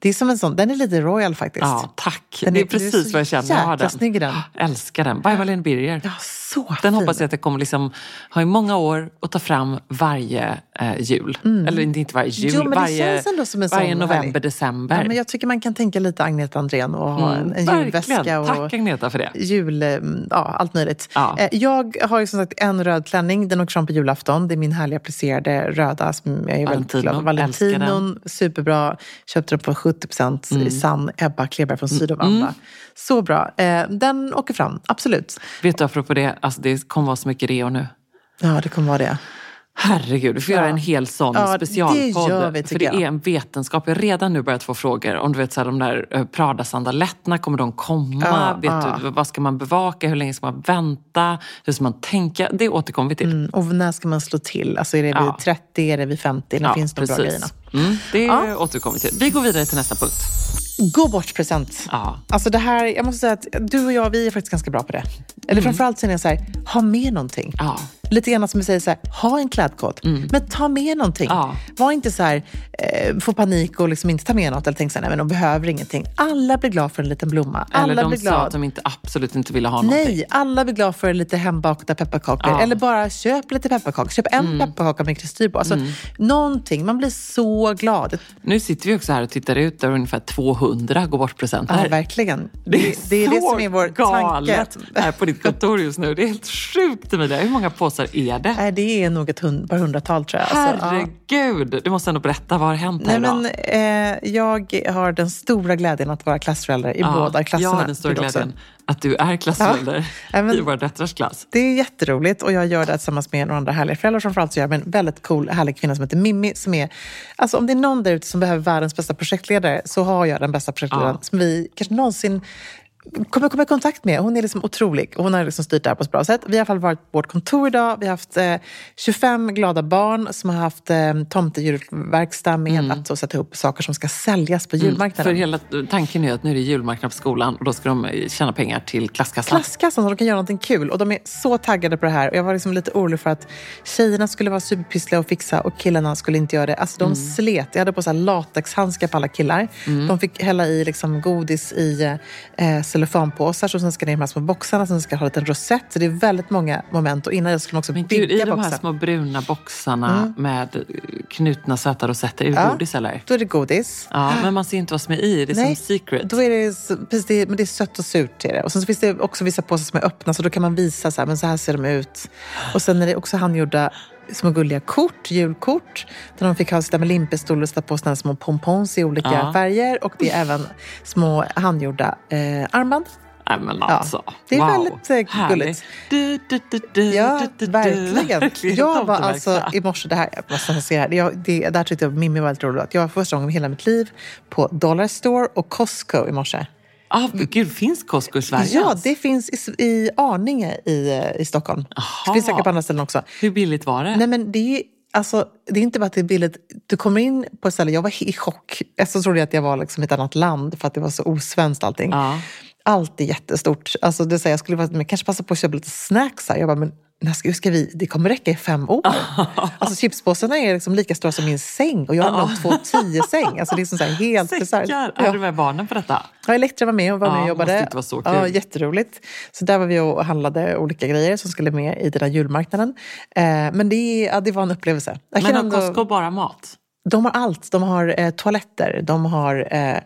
Speaker 2: Det är som en sån, den är lite royal faktiskt.
Speaker 1: Ja, tack.
Speaker 2: Den
Speaker 1: det är
Speaker 2: är- du är
Speaker 1: precis
Speaker 2: så
Speaker 1: vad jag känner. Jag har
Speaker 2: jäkla
Speaker 1: den.
Speaker 2: snygg i den.
Speaker 1: Ah, Älskar den. By Malin Birger.
Speaker 2: Ja, Så
Speaker 1: Den
Speaker 2: fin.
Speaker 1: hoppas jag att jag kommer liksom ha i många år och ta fram varje eh, jul. Eller inte, inte varje jul,
Speaker 2: Mm. Jo, men det
Speaker 1: varje,
Speaker 2: känns ändå som en
Speaker 1: varje
Speaker 2: sån
Speaker 1: november,
Speaker 2: härlig-
Speaker 1: december.
Speaker 2: Ja, men jag tycker man kan tänka lite Agneta Andrén och ha en, en
Speaker 1: Mm, Verkligen.
Speaker 2: julväska. Och...
Speaker 1: Tack Agneta för det.
Speaker 2: jul, eh, ja allt möjligt.
Speaker 1: Ja.
Speaker 2: Eh, Jag har ju som sagt en röd klänning, den åker fram på julafton. Det är min härliga plisserade röda som jag är väldigt
Speaker 1: Valentino,
Speaker 2: glad
Speaker 1: älskar Mm.
Speaker 2: Valentinon, superbra. Köpte den på 70% i sann Ebba Kleberg från Sydovanda. Så bra. Eh, Den åker fram, absolut.
Speaker 1: Vet du apropå det, alltså det kommer vara så mycket reor nu.
Speaker 2: Ja, det kommer vara det.
Speaker 1: Herregud, vi får
Speaker 2: Ja.
Speaker 1: göra en hel sån
Speaker 2: Ja, det
Speaker 1: specialpodd.
Speaker 2: gör vi, tycker
Speaker 1: för det
Speaker 2: jag.
Speaker 1: är en vetenskap. Jag har redan nu börjat få frågor om du vet så här, de där eh, Prada-sandaletterna, kommer de komma?
Speaker 2: Ja,
Speaker 1: vet
Speaker 2: ja.
Speaker 1: du, vad ska man bevaka? Hur länge ska man vänta? Hur ska man tänka? Det återkommer vi till.
Speaker 2: Mm, Och när ska man slå till? Alltså är det vid
Speaker 1: Ja.
Speaker 2: 30, är det vid 50? När finns de bra grejerna?
Speaker 1: Mm, det
Speaker 2: Ja.
Speaker 1: återkommer vi till. Vi går vidare till nästa punkt.
Speaker 2: Gå bort present.
Speaker 1: Ja.
Speaker 2: Alltså det här, jag måste säga att du och jag, vi är faktiskt ganska bra på det. Eller framförallt sen är jag så här, ha med någonting.
Speaker 1: Mm. Ja. Mm.
Speaker 2: Lite grann som vi säger så här, ha en klädkod, men ta med någonting.
Speaker 1: Ja.
Speaker 2: Var inte så här, eh, få panik och liksom inte ta med något eller tänk så här, nej men de behöver ingenting. Alla blir glada för en liten blomma. Alla
Speaker 1: Eller de
Speaker 2: blir
Speaker 1: sa att
Speaker 2: glada.
Speaker 1: de inte, absolut inte ville ha någonting.
Speaker 2: Nej, alla blir glada för lite hembakta pepparkakor.
Speaker 1: Ja. Mm.
Speaker 2: Eller bara köp lite pepparkakor. Köp en pepparkaka med kristyr på. Alltså, Någonting, man blir så glad.
Speaker 1: Nu sitter vi också här och tittar ut där ungefär 200 går bort-presenter.
Speaker 2: Ja, verkligen.
Speaker 1: Det är,
Speaker 2: det är det
Speaker 1: så
Speaker 2: som är vår
Speaker 1: galet
Speaker 2: tanke.
Speaker 1: här på ditt kontor just nu. Det är helt sjukt Emilia. Hur många påsar är det?
Speaker 2: Nej, det är nog ett hund, par hundratal tror jag. Alltså, ja.
Speaker 1: Herregud! Du måste ändå berätta, vad har hänt här
Speaker 2: Nej,
Speaker 1: idag?
Speaker 2: men, eh, jag har den stora glädjen att vara klassförälder i
Speaker 1: Ja,
Speaker 2: båda klasserna.
Speaker 1: Jag har den stora
Speaker 2: vill jag också.
Speaker 1: glädjen att du är klassförälder
Speaker 2: Ja, men-
Speaker 1: i våra döttrars klass.
Speaker 2: Det är jätteroligt och jag gör det tillsammans med några andra härliga föräldrar. Framförallt så gör jag med en väldigt cool, härlig kvinna som heter Mimmi. Som är, alltså om det är någon där ute som behöver världens bästa projektledare så har jag den bästa projektledaren
Speaker 1: Ja.
Speaker 2: som vi kanske någonsin kommer komma i kontakt med. Hon är liksom otrolig och hon har liksom styrt det här på ett bra sätt. Vi har i alla fall varit på vårt kontor idag. Vi har haft eh, 25 glada barn som har haft eh, tomtedjurverkstad med att så sätta ihop saker som ska säljas på julmarknaden.
Speaker 1: Mm. För hela tanken är ju att nu är det julmarknad på skolan och då ska de eh, tjäna pengar till klasskassan.
Speaker 2: klasskassan så de kan göra någonting kul. Och de är så taggade på det här. Och jag var liksom lite orolig för att tjejerna skulle vara superpyssliga och fixa och killarna skulle inte göra det. Alltså de
Speaker 1: Mm.
Speaker 2: slet. Jag hade på så här latexhandskar på alla killar. De fick hälla i liksom godis i eh, cellofanpåsar som sen ska ner i de här små boxarna. Sen ska jag ha en liten rosett. Så det är väldigt många moment. Och innan det skulle de också
Speaker 1: Men gud, i
Speaker 2: bygga
Speaker 1: de
Speaker 2: boxen.
Speaker 1: här små bruna boxarna med eh, knutna söta rosetter, är det
Speaker 2: Ja.
Speaker 1: godis eller?
Speaker 2: Då är det godis.
Speaker 1: Ja, men man ser inte vad som är i. Det är som secret.
Speaker 2: Då är det, s- precis, det, är- men det är sött och surt. Är det. Och sen så finns det också vissa påsar som är öppna, så då kan man visa så här, men så här ser de ut. Och sen är det också handgjorda små gulliga kort, julkort, där de fick ha sitta med limpistol och sätta på såna här små pompons i olika
Speaker 1: Ja.
Speaker 2: färger. Och det är även små handgjorda eh, armband.
Speaker 1: Nej men alltså,
Speaker 2: det är
Speaker 1: wow.
Speaker 2: väldigt, eh,
Speaker 1: Härligt.
Speaker 2: gulligt.
Speaker 1: Du, du, du, du,
Speaker 2: Ja,
Speaker 1: du, du, du.
Speaker 2: verkligen. Jag var
Speaker 1: tomteverkstad.
Speaker 2: alltså i morse, det här, jag måste säga, det här, jag, det, där tyckte jag Mimmi var väldigt roligt, att jag var första gången i hela mitt liv på Dollar Store och Costco i morse.
Speaker 1: Ah, men gud, finns Costco i Sverige?
Speaker 2: Ja,
Speaker 1: ens?
Speaker 2: det finns i, S- i Arninge i, eh, i Stockholm. Det finns säkert på andra ställen också.
Speaker 1: Hur billigt var det?
Speaker 2: Nej, men det är, alltså, det är inte bara att det är billigt. Du kommer in på ett ställe, jag var i chock. Jag så trodde jag att jag var liksom i ett annat land för att det var så osvenskt allting.
Speaker 1: Ja.
Speaker 2: Allt är jättestort. Alltså, det, är så här, jag skulle vara- men kanske passa på att köpa lite snacks här. Jag bara, men när ska, hur ska vi, det kommer räcka i fem år. alltså, chipspåsarna är liksom lika stora som min säng och jag har en två tio säng. Alltså, det är som så här helt bisarrt.
Speaker 1: Säckar!
Speaker 2: Ja.
Speaker 1: Hade du med barnen på detta?
Speaker 2: Ja, Elektra var med och var
Speaker 1: Ja,
Speaker 2: med och
Speaker 1: måste
Speaker 2: jobbade.
Speaker 1: inte vara så kul.
Speaker 2: ja, jätteroligt. Så där var vi och handlade olika grejer som skulle med i den här julmarknaden. Eh, men det, ja, det var en upplevelse. Jag
Speaker 1: Men
Speaker 2: kan
Speaker 1: har Costco bara mat?
Speaker 2: De har allt. De har eh, toaletter, de har eh,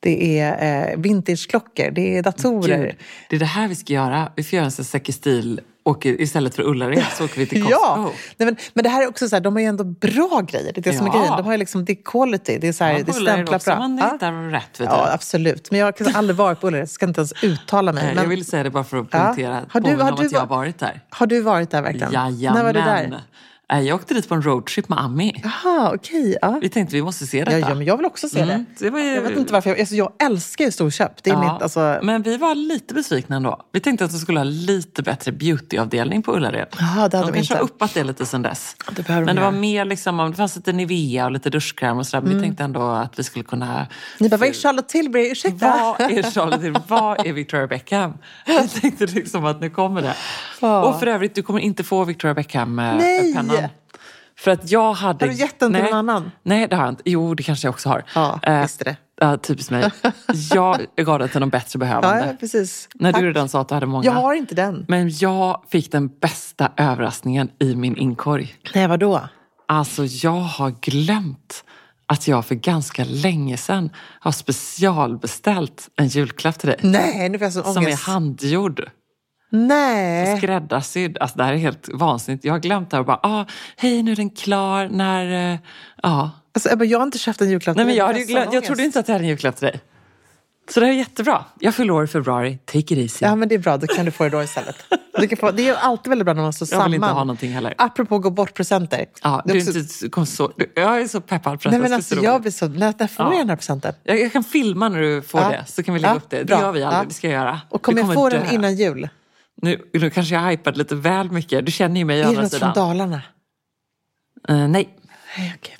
Speaker 2: det är eh, vintageklockor, det är datorer.
Speaker 1: Gud, det är det här vi ska göra. Vi får göra en sån här säck i stil. Och istället för Ullared så åker vi till Costco.
Speaker 2: Ja, nej men, men det här är också så här, de har ju ändå bra grejer. Det är det som är
Speaker 1: Ja.
Speaker 2: grejen. De har ju liksom, det är quality, det är så här, det
Speaker 1: Ullared
Speaker 2: stämplar
Speaker 1: också,
Speaker 2: bra.
Speaker 1: man
Speaker 2: Ja.
Speaker 1: hittar rätt. Vet
Speaker 2: ja,
Speaker 1: du.
Speaker 2: absolut. Men jag har aldrig varit på Ullared, så jag ska inte ens uttala mig.
Speaker 1: Nej,
Speaker 2: Men
Speaker 1: Eh, Jag ville säga det bara för att
Speaker 2: Ja.
Speaker 1: poängtera.
Speaker 2: Har du-
Speaker 1: påminna
Speaker 2: har
Speaker 1: om
Speaker 2: du
Speaker 1: att jag har
Speaker 2: va-
Speaker 1: varit där.
Speaker 2: Har du varit där verkligen?
Speaker 1: Jajamän.
Speaker 2: När var du där?
Speaker 1: Eh, Jag åkte dit på en roadtrip med Ami.
Speaker 2: Jaha, okej. ja.
Speaker 1: Vi tänkte vi måste se detta.
Speaker 2: Ja, ja, men jag vill också se
Speaker 1: Mm,
Speaker 2: det.
Speaker 1: det var ju-
Speaker 2: Jag vet inte varför. Jag, alltså, jag älskar ju storköp. Det är
Speaker 1: Ja, Mm.
Speaker 2: mitt, alltså...
Speaker 1: Men vi var lite besvikna ändå. Vi tänkte att de skulle ha lite bättre beautyavdelning på Ullared.
Speaker 2: Jaha, det hade
Speaker 1: de
Speaker 2: de
Speaker 1: kanske har
Speaker 2: inte.
Speaker 1: uppat det lite sen dess.
Speaker 2: Det behöver de
Speaker 1: men det var
Speaker 2: göra. Mm.
Speaker 1: mer liksom, om- det fanns lite Nivea och lite duschkräm och sådär. Men vi tänkte ändå att vi skulle kunna...
Speaker 2: Ni bara, vad är Charlotte Tilbury? Ursäkta?
Speaker 1: Vad är Charlotte Tilbury? Vad är Victoria Beckham? Jag tänkte liksom att nu kommer det.
Speaker 2: Ja.
Speaker 1: Och för övrigt, du kommer inte få Victoria
Speaker 2: Nej!
Speaker 1: Beckham-pennan. För att jag hade...
Speaker 2: Har du gett den till
Speaker 1: Nej.
Speaker 2: någon annan?
Speaker 1: Nej, det har jag inte. Jo, det kanske jag också har.
Speaker 2: Ja,
Speaker 1: Eh,
Speaker 2: visste det.
Speaker 1: Ja, typiskt mig. Jag gav den till de bättre
Speaker 2: Ja, ja
Speaker 1: behövande.
Speaker 2: precis.
Speaker 1: När
Speaker 2: Tack.
Speaker 1: du redan sa att du hade många.
Speaker 2: Jag har inte den.
Speaker 1: Men jag fick den bästa överraskningen i min inkorg.
Speaker 2: Nej, vadå?
Speaker 1: Alltså jag har glömt att jag för ganska länge sedan har specialbeställt en julklapp till dig.
Speaker 2: Nej, nu får jag sån
Speaker 1: Som
Speaker 2: ångest.
Speaker 1: är handgjord,
Speaker 2: Nej.
Speaker 1: skräddarsydd. Alltså det här är helt vansinnigt. Jag har glömt det här och bara, ah, hej nu är den klar. När, eh, ja.
Speaker 2: Alltså, Ebba, jag har inte köpt en julklapp.
Speaker 1: Nej men jag, hade ju
Speaker 2: får
Speaker 1: glömt,
Speaker 2: sån
Speaker 1: jag trodde
Speaker 2: ångest.
Speaker 1: inte att jag hade en julklapp till dig. Så det här är jättebra. Jag fyller år i februari, take it easy.
Speaker 2: Ja, men det är bra. Då kan du få det då istället. Du kan få, det är ju alltid väldigt bra när man står
Speaker 1: Jag
Speaker 2: samman.
Speaker 1: vill inte ha någonting heller.
Speaker 2: Apropå gå bort-presenter.
Speaker 1: Ja,
Speaker 2: Det är
Speaker 1: du,
Speaker 2: också-
Speaker 1: du kom så, du, jag är så peppad för att
Speaker 2: Nej,
Speaker 1: det
Speaker 2: men
Speaker 1: ska
Speaker 2: alltså,
Speaker 1: bli så
Speaker 2: jag
Speaker 1: roligt.
Speaker 2: blir så... När, när får
Speaker 1: Ja.
Speaker 2: jag den här presenten?
Speaker 1: jag, jag kan filma när du får
Speaker 2: Ja.
Speaker 1: det, så kan vi lägga
Speaker 2: Ja,
Speaker 1: upp det. Det
Speaker 2: bra.
Speaker 1: gör vi aldrig,
Speaker 2: Ja.
Speaker 1: det ska jag göra.
Speaker 2: Och kommer
Speaker 1: Du
Speaker 2: jag få den
Speaker 1: dö.
Speaker 2: innan jul?
Speaker 1: Nu, nu kanske jag hypat lite väl mycket. Du känner ju mig å
Speaker 2: Är det
Speaker 1: andra
Speaker 2: något från
Speaker 1: sidan.
Speaker 2: Dalarna?
Speaker 1: Eh, nej,
Speaker 2: Nej, okej.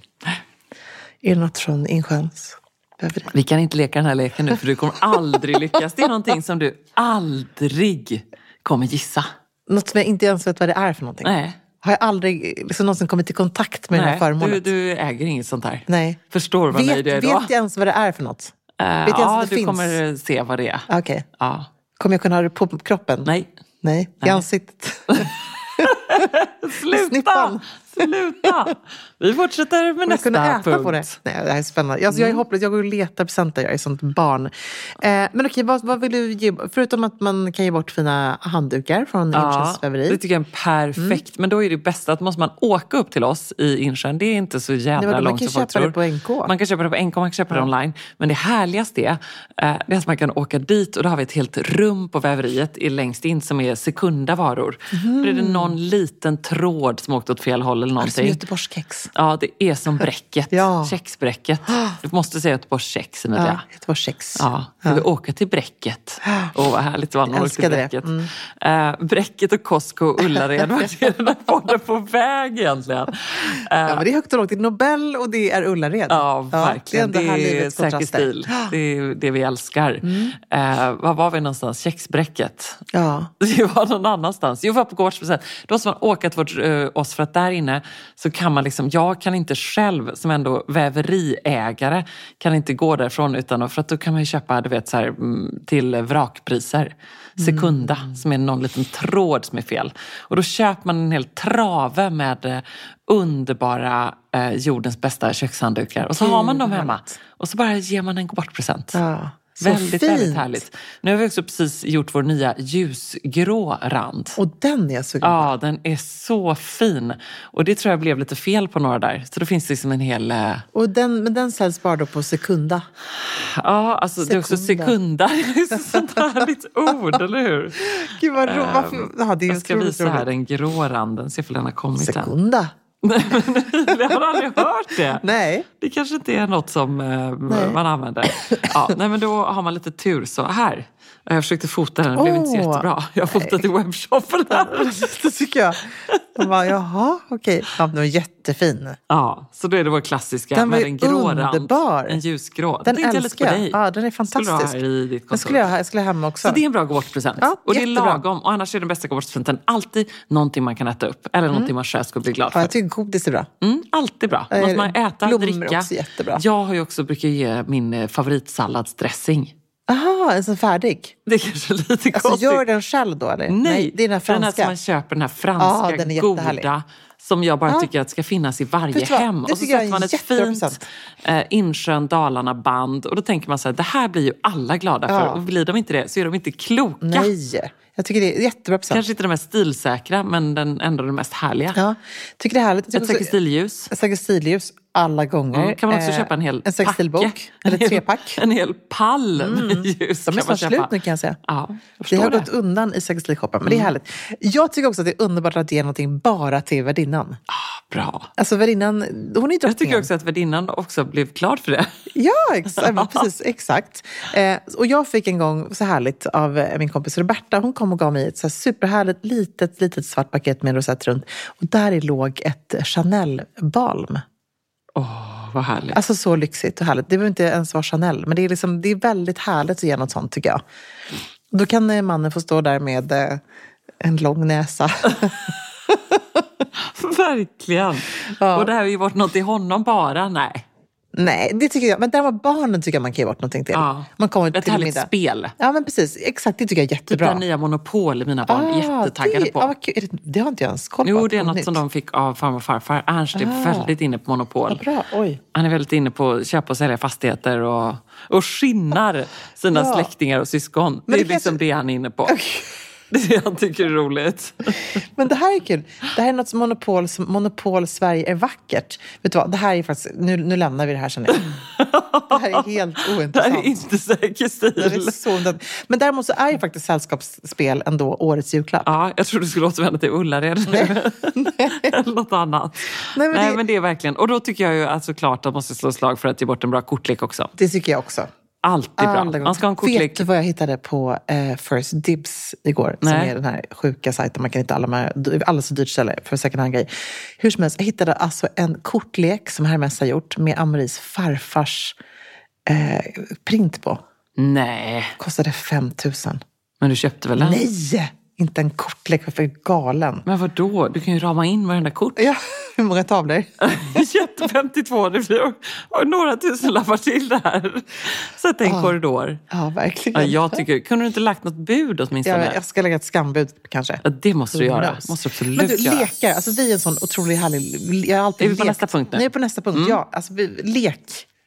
Speaker 2: Är det något från Insjöns? Behöver det?
Speaker 1: vi kan inte leka den här leken nu för du kommer aldrig lyckas. Det är någonting som du aldrig kommer gissa.
Speaker 2: Något som jag inte ens vet vad det är för någonting.
Speaker 1: Nej,
Speaker 2: Har jag aldrig eh, liksom, någonsin kommit i kontakt med den här
Speaker 1: nej. Du,
Speaker 2: förmånen?
Speaker 1: du äger inget sånt här.
Speaker 2: Nej.
Speaker 1: Förstår vad nöjd
Speaker 2: Vet,
Speaker 1: jag är
Speaker 2: vet
Speaker 1: då?
Speaker 2: jag ens vad det är för något?
Speaker 1: Eh,
Speaker 2: vet jag ens
Speaker 1: ja,
Speaker 2: att det
Speaker 1: du
Speaker 2: finns?
Speaker 1: kommer se vad det är.
Speaker 2: Ah, Okej.
Speaker 1: Ja.
Speaker 2: Kommer jag kunna ha det på kroppen?
Speaker 1: Nej.
Speaker 2: Nej, i ansiktet.
Speaker 1: Sluta!
Speaker 2: Snippan.
Speaker 1: Sluta! Vi fortsätter med
Speaker 2: Kommer jag kunna
Speaker 1: nästa
Speaker 2: äta
Speaker 1: punkt. Mm.
Speaker 2: på det? Nej, det här är spännande. Alltså, jag är hopplös. Jag går och letar presenter. Jag är sånt barn. Eh, men okej, vad, vad vill du ge? Förutom att man kan ge bort fina handdukar från Insjöns väveri.
Speaker 1: det tycker jag är
Speaker 2: Mm.
Speaker 1: perfekt. Men då är det bästa att måste man åka upp till oss i Insjön. Det är inte så
Speaker 2: Nej,
Speaker 1: jävla
Speaker 2: vadå, man
Speaker 1: långt
Speaker 2: kan
Speaker 1: som folk
Speaker 2: köpa det
Speaker 1: tror.
Speaker 2: på NK.
Speaker 1: Man kan köpa det på NK, man kan köpa det online. Men det härligaste är, eh, det är att man kan åka dit och då har vi ett helt rum på väveriet i- längst in som är sekunda varor.
Speaker 2: Mhm.
Speaker 1: Då är det någon liten tråd som åkt åt fel håll eller
Speaker 2: Som
Speaker 1: någonting.
Speaker 2: Göteborgskex.
Speaker 1: Ja, det är som bräcket.
Speaker 2: Alltså, Ja.
Speaker 1: Kexbräcket. Du måste säga Göteborgskex, Emilia.
Speaker 2: Ja, Göteborgskex.
Speaker 1: Ja, vi åka till Bräcket. Åh, vad härligt det var när man åkte till
Speaker 2: Älskade det. Mm.
Speaker 1: Bräcket. Eh, Bräcket och Costco och Ullared, vart är den här podden på väg egentligen? Eh,
Speaker 2: Ja, men det är högt och lågt. Det är Nobel och det är Ullared.
Speaker 1: Ja, verkligen.
Speaker 2: det är,
Speaker 1: Det
Speaker 2: ändå här
Speaker 1: är,
Speaker 2: livets
Speaker 1: säker
Speaker 2: kontraster.
Speaker 1: stil. Det är det vi älskar.
Speaker 2: Mm.
Speaker 1: Eh, var var vi någonstans? Kexbräcket?
Speaker 2: Ja.
Speaker 1: Det var någon annanstans. Jo, vi var på gårdspresent. Då måste man åka till vårt, eh, oss för att där inne så kan man liksom, jag kan inte själv som ändå väveriägare kan inte gå därifrån utan att- för att då kan man ju köpa du vet, så här, mm, till vrakpriser. Sekunda, som är någon liten tråd som är fel. Och då köper man en hel trave med eh, underbara eh, jordens bästa kökshanddukar. Och så har man dem hemma. Och så bara ger man en gå bort-present.
Speaker 2: ja. Så
Speaker 1: Väldigt,
Speaker 2: fint.
Speaker 1: väldigt härligt. Nu har vi också precis gjort vår nya ljusgrå rand.
Speaker 2: Och den är jag sugen på.
Speaker 1: Ja, den är så fin. Och det tror jag blev lite fel på några där. Så då finns det liksom en hel... eh,
Speaker 2: Och den, men den säljs bara då på Sekunda.
Speaker 1: Ja, alltså det är också sekunda.
Speaker 2: Sekunda.
Speaker 1: Det är så sånt härligt ord, eller hur? Ehm,
Speaker 2: Gud vad roligt. Varför? Ja, det är
Speaker 1: Jag ska
Speaker 2: otroligt
Speaker 1: visa här
Speaker 2: roligt.
Speaker 1: den grå randen, se om den har kommit än.
Speaker 2: Sekunda?
Speaker 1: Nej, men Jag har aldrig hört det.
Speaker 2: Nej.
Speaker 1: Det kanske inte är något som eh, man använder. Ja, nej, men då har man lite tur. Så här. Jag försökte fota den, det blev inte så
Speaker 2: Åh,
Speaker 1: jättebra. Jag fotade i webbshoppen. Här.
Speaker 2: Det tycker jag. De bara, jaha, okej. Ja, men den var jättefin.
Speaker 1: Ja, så då är det vår klassiska
Speaker 2: Den var
Speaker 1: med
Speaker 2: ju
Speaker 1: en grå
Speaker 2: underbar.
Speaker 1: rand. En ljusgrå.
Speaker 2: Den
Speaker 1: tänkte jag lite på
Speaker 2: älskar
Speaker 1: dig.
Speaker 2: jag. Ja, den är
Speaker 1: Skulle du ha
Speaker 2: fantastisk.
Speaker 1: här i ditt
Speaker 2: Den
Speaker 1: kontor.
Speaker 2: skulle jag, ha- jag skulle ha hemma också.
Speaker 1: Så det är en bra gåvopresent.
Speaker 2: Ja,
Speaker 1: och det är
Speaker 2: jättebra.
Speaker 1: lagom. Och annars är den bästa gåvopresenten alltid någonting man kan äta upp. Eller någonting man själv skulle bli glad för.
Speaker 2: Mm. ja, jag tycker godis är bra.
Speaker 1: Mm, alltid bra.
Speaker 2: Eh,
Speaker 1: Något man äta,
Speaker 2: blommor är
Speaker 1: dricka.
Speaker 2: också jättebra.
Speaker 1: Jag har ju också brukar ge min eh, favoritsalladsdressing.
Speaker 2: Aha, en sån färdig.
Speaker 1: Det är kanske lite
Speaker 2: Alltså,
Speaker 1: konstigt.
Speaker 2: gör den själv då eller?
Speaker 1: Nej,
Speaker 2: det är den här franska.
Speaker 1: som man köper, den här franska
Speaker 2: Ja, den är jättehärlig.
Speaker 1: goda som jag bara
Speaker 2: Ja.
Speaker 1: tycker att ska finnas i varje
Speaker 2: Vet du vad?
Speaker 1: hem.
Speaker 2: Det
Speaker 1: Och så
Speaker 2: tycker jag
Speaker 1: sätter
Speaker 2: är
Speaker 1: man ett fint
Speaker 2: jättepresent.
Speaker 1: eh, Insjön Dalarna-band och då tänker man så här, det här blir ju alla glada för.
Speaker 2: Ja.
Speaker 1: Och blir de inte det så är de inte kloka.
Speaker 2: Nej, jag tycker det är jättebra present.
Speaker 1: Kanske inte den mest stilsäkra men den, ändå den mest härliga.
Speaker 2: Ja, tycker det är härligt. Jag
Speaker 1: Ett
Speaker 2: tycker också-
Speaker 1: textilljus.
Speaker 2: Ett Sagestilljus alla gånger.
Speaker 1: Kan man också
Speaker 2: Eh,
Speaker 1: köpa en hel
Speaker 2: En
Speaker 1: packe.
Speaker 2: sagestilbok, eller
Speaker 1: En hel-
Speaker 2: trepack. Mm.
Speaker 1: En hel pall med ljus.
Speaker 2: De är
Speaker 1: kan man
Speaker 2: snart
Speaker 1: köpa.
Speaker 2: slut nu kan jag säga.
Speaker 1: Ja, jag
Speaker 2: Det
Speaker 1: förstår
Speaker 2: har
Speaker 1: det. Mm.
Speaker 2: gått undan i sagostilshoppen, men det är härligt. Jag tycker också att det är underbart att ge någonting bara till värdinnan.
Speaker 1: Ah, Bra.
Speaker 2: Alltså värdinnan, hon är ju
Speaker 1: Jag tycker
Speaker 2: drottningen.
Speaker 1: också att värdinnan också blev glad för det.
Speaker 2: Ja, exakt, precis. Exakt. Eh, och jag fick en gång, så härligt, av eh, min kompis Roberta. Hon kom och gav mig ett så här superhärligt litet, litet svart paket med en rosett runt. Och där i låg ett Chanel-balm.
Speaker 1: Åh, vad härligt.
Speaker 2: Alltså så lyxigt och härligt. Det behöver inte ens vara Chanel, men det är, liksom, det är väldigt härligt att ge något sånt tycker jag. Då kan eh, mannen få stå där med eh, en lång näsa.
Speaker 1: Verkligen.
Speaker 2: Ja.
Speaker 1: Och det här har ju varit något i honom bara. Nej.
Speaker 2: Nej, det tycker jag. Men däremot barnen tycker jag man kan ge bort någonting till.
Speaker 1: Ja.
Speaker 2: Man kommer
Speaker 1: Ett
Speaker 2: till
Speaker 1: härligt
Speaker 2: middag.
Speaker 1: spel.
Speaker 2: Ja, men precis. Exakt, det tycker jag är
Speaker 1: Typ det
Speaker 2: jättebra.
Speaker 1: här nya Monopol är mina barn jättetaggade
Speaker 2: det,
Speaker 1: på.
Speaker 2: Ja, vad kul. Är det, det har inte jag ens koll på.
Speaker 1: Jo, det är
Speaker 2: Vad
Speaker 1: något
Speaker 2: nytt.
Speaker 1: som de fick av farmor och farfar. Ernst är
Speaker 2: Ah.
Speaker 1: väldigt inne på monopol.
Speaker 2: Vad bra. Oj.
Speaker 1: Han är väldigt inne på att köpa och sälja fastigheter och, och skinnar sina
Speaker 2: Ja.
Speaker 1: släktingar och syskon. det,
Speaker 2: det
Speaker 1: är liksom
Speaker 2: kanske-
Speaker 1: det han är inne på. Det är det han tycker är roligt.
Speaker 2: Men det här är kul. Det här är något som Monopol, som Monopol Sverige är vackert. Vet du vad, det här är faktiskt, nu, nu lämnar vi det här känner jag. Det här är helt
Speaker 1: Det här
Speaker 2: ointressant.
Speaker 1: är inte säker
Speaker 2: Det här är
Speaker 1: stil.
Speaker 2: så ointressant. Men däremot så är ju faktiskt sällskapsspel ändå årets julklapp.
Speaker 1: Ja, jag trodde du skulle återvända till Ullared eller något annat. Nej,
Speaker 2: Nej,
Speaker 1: men,
Speaker 2: men
Speaker 1: det...
Speaker 2: det-
Speaker 1: är verkligen... Och då tycker jag ju att såklart att man ska slå slag för att ge bort en bra kortlek också.
Speaker 2: Det tycker jag också.
Speaker 1: Alltid bra.
Speaker 2: Alla gånger.
Speaker 1: Man ska ha en kortlek.
Speaker 2: Vet du vad jag hittade på eh, First Dibs igår? Som
Speaker 1: Nej.
Speaker 2: är den här sjuka sajten. Man kan hitta alla, de här- alla så dyrt ställe för second hand-grejer. Hur som helst, jag hittade alltså en kortlek som Hermes har gjort med Amaris farfars eh, print på.
Speaker 1: Nej,
Speaker 2: Kostade 5 000.
Speaker 1: men du köpte väl den?
Speaker 2: Nej! Inte en kortlek, varför är jag galen?
Speaker 1: Men vadå? Du kan ju rama in varenda kort.
Speaker 2: Ja, hur många tavlor?
Speaker 1: Jätte 52, det blir ju- och några tusenlappar till det här. Sätt en korridor.
Speaker 2: Ja, verkligen.
Speaker 1: Ja, jag tycker, kunde du inte lagt något bud åtminstone?
Speaker 2: jag, jag ska lägga ett skambud kanske.
Speaker 1: Ja, det måste du
Speaker 2: Who
Speaker 1: göra.
Speaker 2: knows?
Speaker 1: Måste du
Speaker 2: Men
Speaker 1: absolut
Speaker 2: du,
Speaker 1: göra.
Speaker 2: lekar. Alltså, vi är en sån otroligt härlig... Jag har alltid
Speaker 1: Är vi på
Speaker 2: lekt.
Speaker 1: nästa punkt nu? Mm.
Speaker 2: Nej, på nästa punkt. Ja, alltså, vi, lek.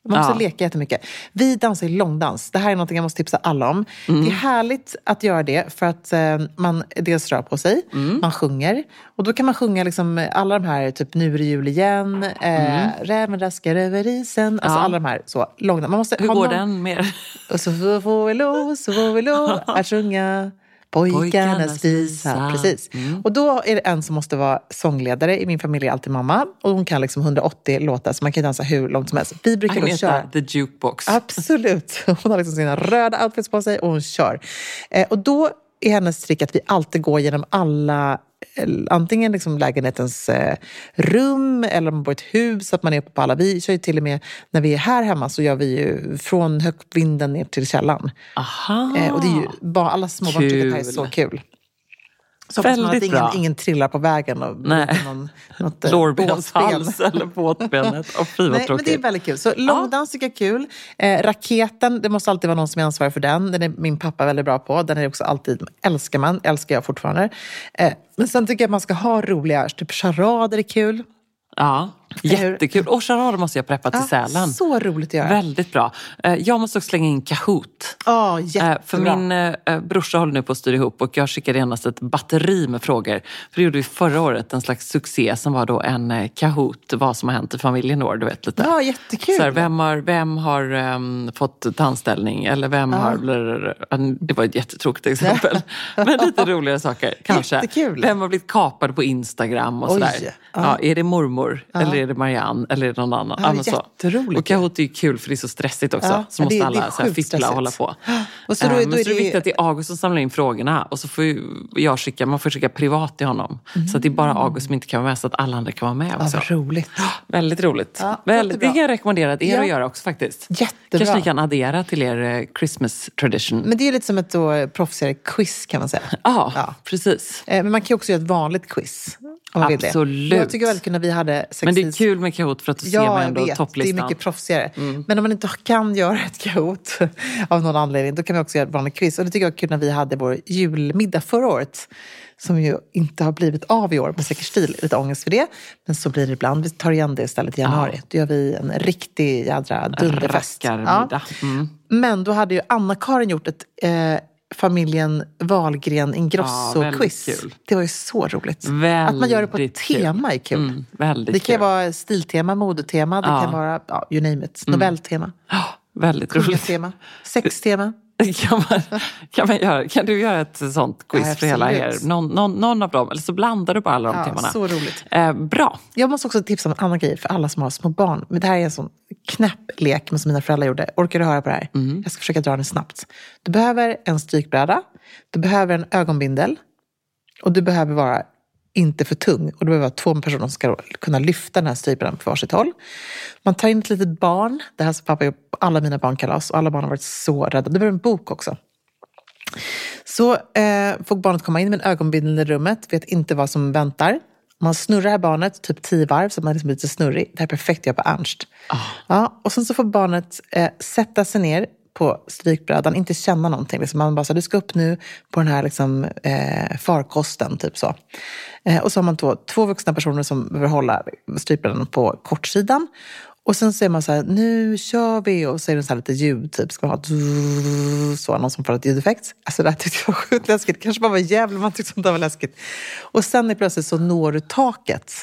Speaker 2: Man
Speaker 1: Ja.
Speaker 2: måste leka jättemycket. Vi dansar ju långdans. Det här är något jag måste tipsa alla om.
Speaker 1: Mm.
Speaker 2: Det är härligt att göra det för att eh, man dels rör på sig,
Speaker 1: Mm.
Speaker 2: man sjunger. Och då kan man sjunga liksom alla de här, typ Nu är det jul igen, eh, Räven raskar över isen. Alltså
Speaker 1: Mm. Ja.
Speaker 2: alla de här så långdans. Man måste
Speaker 1: Hur
Speaker 2: ha
Speaker 1: går
Speaker 2: någon-
Speaker 1: den med
Speaker 2: och så får vi lov, så får vi lov att sjunga
Speaker 1: Pojkarnas
Speaker 2: pojkarnas
Speaker 1: visa. Mm.
Speaker 2: visa. Precis. Och då är det en som måste vara sångledare. I min familj är alltid mamma. Och hon kan liksom 180 låtar, så man kan dansa hur långt som helst. Vi brukar då köra...
Speaker 1: Agneta, the jukebox?
Speaker 2: Absolut. Hon har liksom sina röda outfits på sig och hon kör. Eh, och då är hennes trick att vi alltid går genom alla eh, antingen liksom lägenhetens eh, rum eller om man bor i ett hus, att man är uppe på alla. Vi kör ju till och med, när vi är här hemma så gör vi ju från högvinden ner till källaren.
Speaker 1: Aha.
Speaker 2: Eh, och det är ju, bara, alla småbarn tycker att det här är
Speaker 1: Ah. Kul.
Speaker 2: så kul. Så hoppas man
Speaker 1: Väldigt
Speaker 2: att ingen,
Speaker 1: bra.
Speaker 2: ingen trillar på vägen och
Speaker 1: Nej.
Speaker 2: bryter någon, något eh, båtben.
Speaker 1: Lårbenshals eller båtbenet. Och fy vad
Speaker 2: Nej, men
Speaker 1: tråkigt.
Speaker 2: det är väldigt kul. Så långdans tycker jag är kul. Eh, raketen, det måste alltid vara någon som är ansvarig för den. Den är min pappa väldigt bra på. Den är också alltid, älskar man, älskar jag fortfarande. Eh, men sen tycker jag att man ska ha roliga, typ charader är kul.
Speaker 1: Ja,
Speaker 2: Eller hur?
Speaker 1: jättekul. Och charader måste jag preppa till Sälen.
Speaker 2: Så roligt att göra.
Speaker 1: Väldigt bra. Eh, Jag måste också slänga in Kahoot.
Speaker 2: Ja,
Speaker 1: Eh,
Speaker 2: jättebra.
Speaker 1: För min eh, eh, brorsa håller nu på att styra ihop och jag skickade genast ett batteri med frågor. För det gjorde vi förra året, en slags succé som var då en eh, Kahoot, vad som har hänt i familjen i år. Du vet, lite.
Speaker 2: Ja, jättekul.
Speaker 1: Så här, vem har, vem har ehm, fått tandställning? Eller vem har... blablabla. Det var ett jättetråkigt exempel. Men lite roligare saker, kanske.
Speaker 2: Jättekul.
Speaker 1: Vem har blivit kapad på Instagram och
Speaker 2: Oj,
Speaker 1: sådär. Ja.
Speaker 2: ja.
Speaker 1: är det mormor? Eller är det Marianne? Eller är det någon annan?
Speaker 2: Ja,
Speaker 1: men så.
Speaker 2: jätteroligt.
Speaker 1: Och Kahoot är ju kul för det är så stressigt också.
Speaker 2: Ja,
Speaker 1: så
Speaker 2: men
Speaker 1: måste
Speaker 2: det- det är
Speaker 1: alla så här,
Speaker 2: sjukt
Speaker 1: fippla och hålla
Speaker 2: stressigt.
Speaker 1: på.
Speaker 2: Och så då är-
Speaker 1: Eh,
Speaker 2: då
Speaker 1: men
Speaker 2: är
Speaker 1: så är det
Speaker 2: det-
Speaker 1: viktigt att det är August som samlar in frågorna. Och så får ju jag skicka, man får skicka privat till honom. Så att det är bara August som inte kan vara med så att alla andra kan vara med
Speaker 2: Mm. Ja,
Speaker 1: också.
Speaker 2: vad roligt.
Speaker 1: Väldigt roligt.
Speaker 2: Ja,
Speaker 1: Väldigt, det
Speaker 2: jättebra.
Speaker 1: kan jag rekommendera att er
Speaker 2: Ja.
Speaker 1: att göra också faktiskt.
Speaker 2: Jättebra.
Speaker 1: Kanske ni kan addera till er eh, Christmas tradition.
Speaker 2: Men det är lite som ett då, eh, proffsigare quiz kan man säga.
Speaker 1: Ja,
Speaker 2: Ja.
Speaker 1: precis.
Speaker 2: Eh, Men man kan ju också göra ett vanligt quiz. Om man vill det.
Speaker 1: Absolut.
Speaker 2: Jag tycker väldigt kul när vi hade sex
Speaker 1: Men det är kul med Kahoot för att du ser
Speaker 2: Ja,
Speaker 1: mig
Speaker 2: jag
Speaker 1: ändå
Speaker 2: vet. Det är
Speaker 1: topplistan. Mm.
Speaker 2: mycket proffsigare. Men om man inte kan göra ett kaot av någon anledning, då kan vi också göra ett vanligt quiz. Och det tycker jag var kul när vi hade vår julmiddag förra året, som ju inte har blivit av i år på Säker stil. Lite ångest för det, men så blir det ibland. Vi tar igen det istället i januari. Då gör vi en riktig jädra dunderfest.
Speaker 1: Rackarmiddag. Mm.
Speaker 2: Men då hade ju Anna-Karin gjort ett eh, familjen Wahlgren
Speaker 1: Ja, väldigt
Speaker 2: Ingrosso-quiz.
Speaker 1: kul.
Speaker 2: det var ju så roligt.
Speaker 1: Väldigt
Speaker 2: Att man gör det på ett
Speaker 1: kul.
Speaker 2: tema är kul.
Speaker 1: Mm, väldigt
Speaker 2: Det kan
Speaker 1: kul.
Speaker 2: vara stiltema, modetema, det
Speaker 1: Ja.
Speaker 2: kan vara ja, you name it. Nobeltema,
Speaker 1: Ja, väldigt roligt.
Speaker 2: kungatema, sextema.
Speaker 1: Kan, man, kan, man göra, kan du göra ett sånt quiz
Speaker 2: Ja,
Speaker 1: för hela er?
Speaker 2: absolut.
Speaker 1: Någon, någon, någon av dem, eller så blandar du bara alla de
Speaker 2: Ja,
Speaker 1: temana.
Speaker 2: så roligt.
Speaker 1: Eh, bra.
Speaker 2: Jag måste också tipsa om en annan grej för alla som har små barn. Men det här är en sån knäpp lek men som mina föräldrar gjorde. Orkar du höra på det här? Jag ska försöka dra den snabbt. Du behöver en strykbräda, du behöver en ögonbindel och du behöver vara inte för tung. Och det behöver vara två personer som ska kunna lyfta den här strykbrädan på varsitt håll. Man tar in ett litet barn. Det här som pappa gjort på alla mina barnkalas och alla barn har varit så rädda. Det behöver en bok också. Så eh, får barnet komma in med en ögonbindel i rummet, vet inte vad som väntar. Man snurrar barnet typ tio varv så man liksom blir lite snurrig. Det här är perfekt att göra på Ernst. Ja, och sen så får barnet eh, sätta sig ner på strykbrädan, inte känna någonting. Liksom man bara så här, du ska upp nu på den här liksom, eh, farkosten, typ så. Eh, och så har man då två vuxna personer som behöver hålla strykbrädan på kortsidan. Och sen säger man så här, nu kör vi! Och så är det så här lite ljud, typ. Ska man ha ett så, någon som får ett ljudeffekt. Alltså det här tyckte jag var sjukt läskigt. Kanske bara var jävla man tyckte sånt där var läskigt. Och sen är plötsligt så når du taket.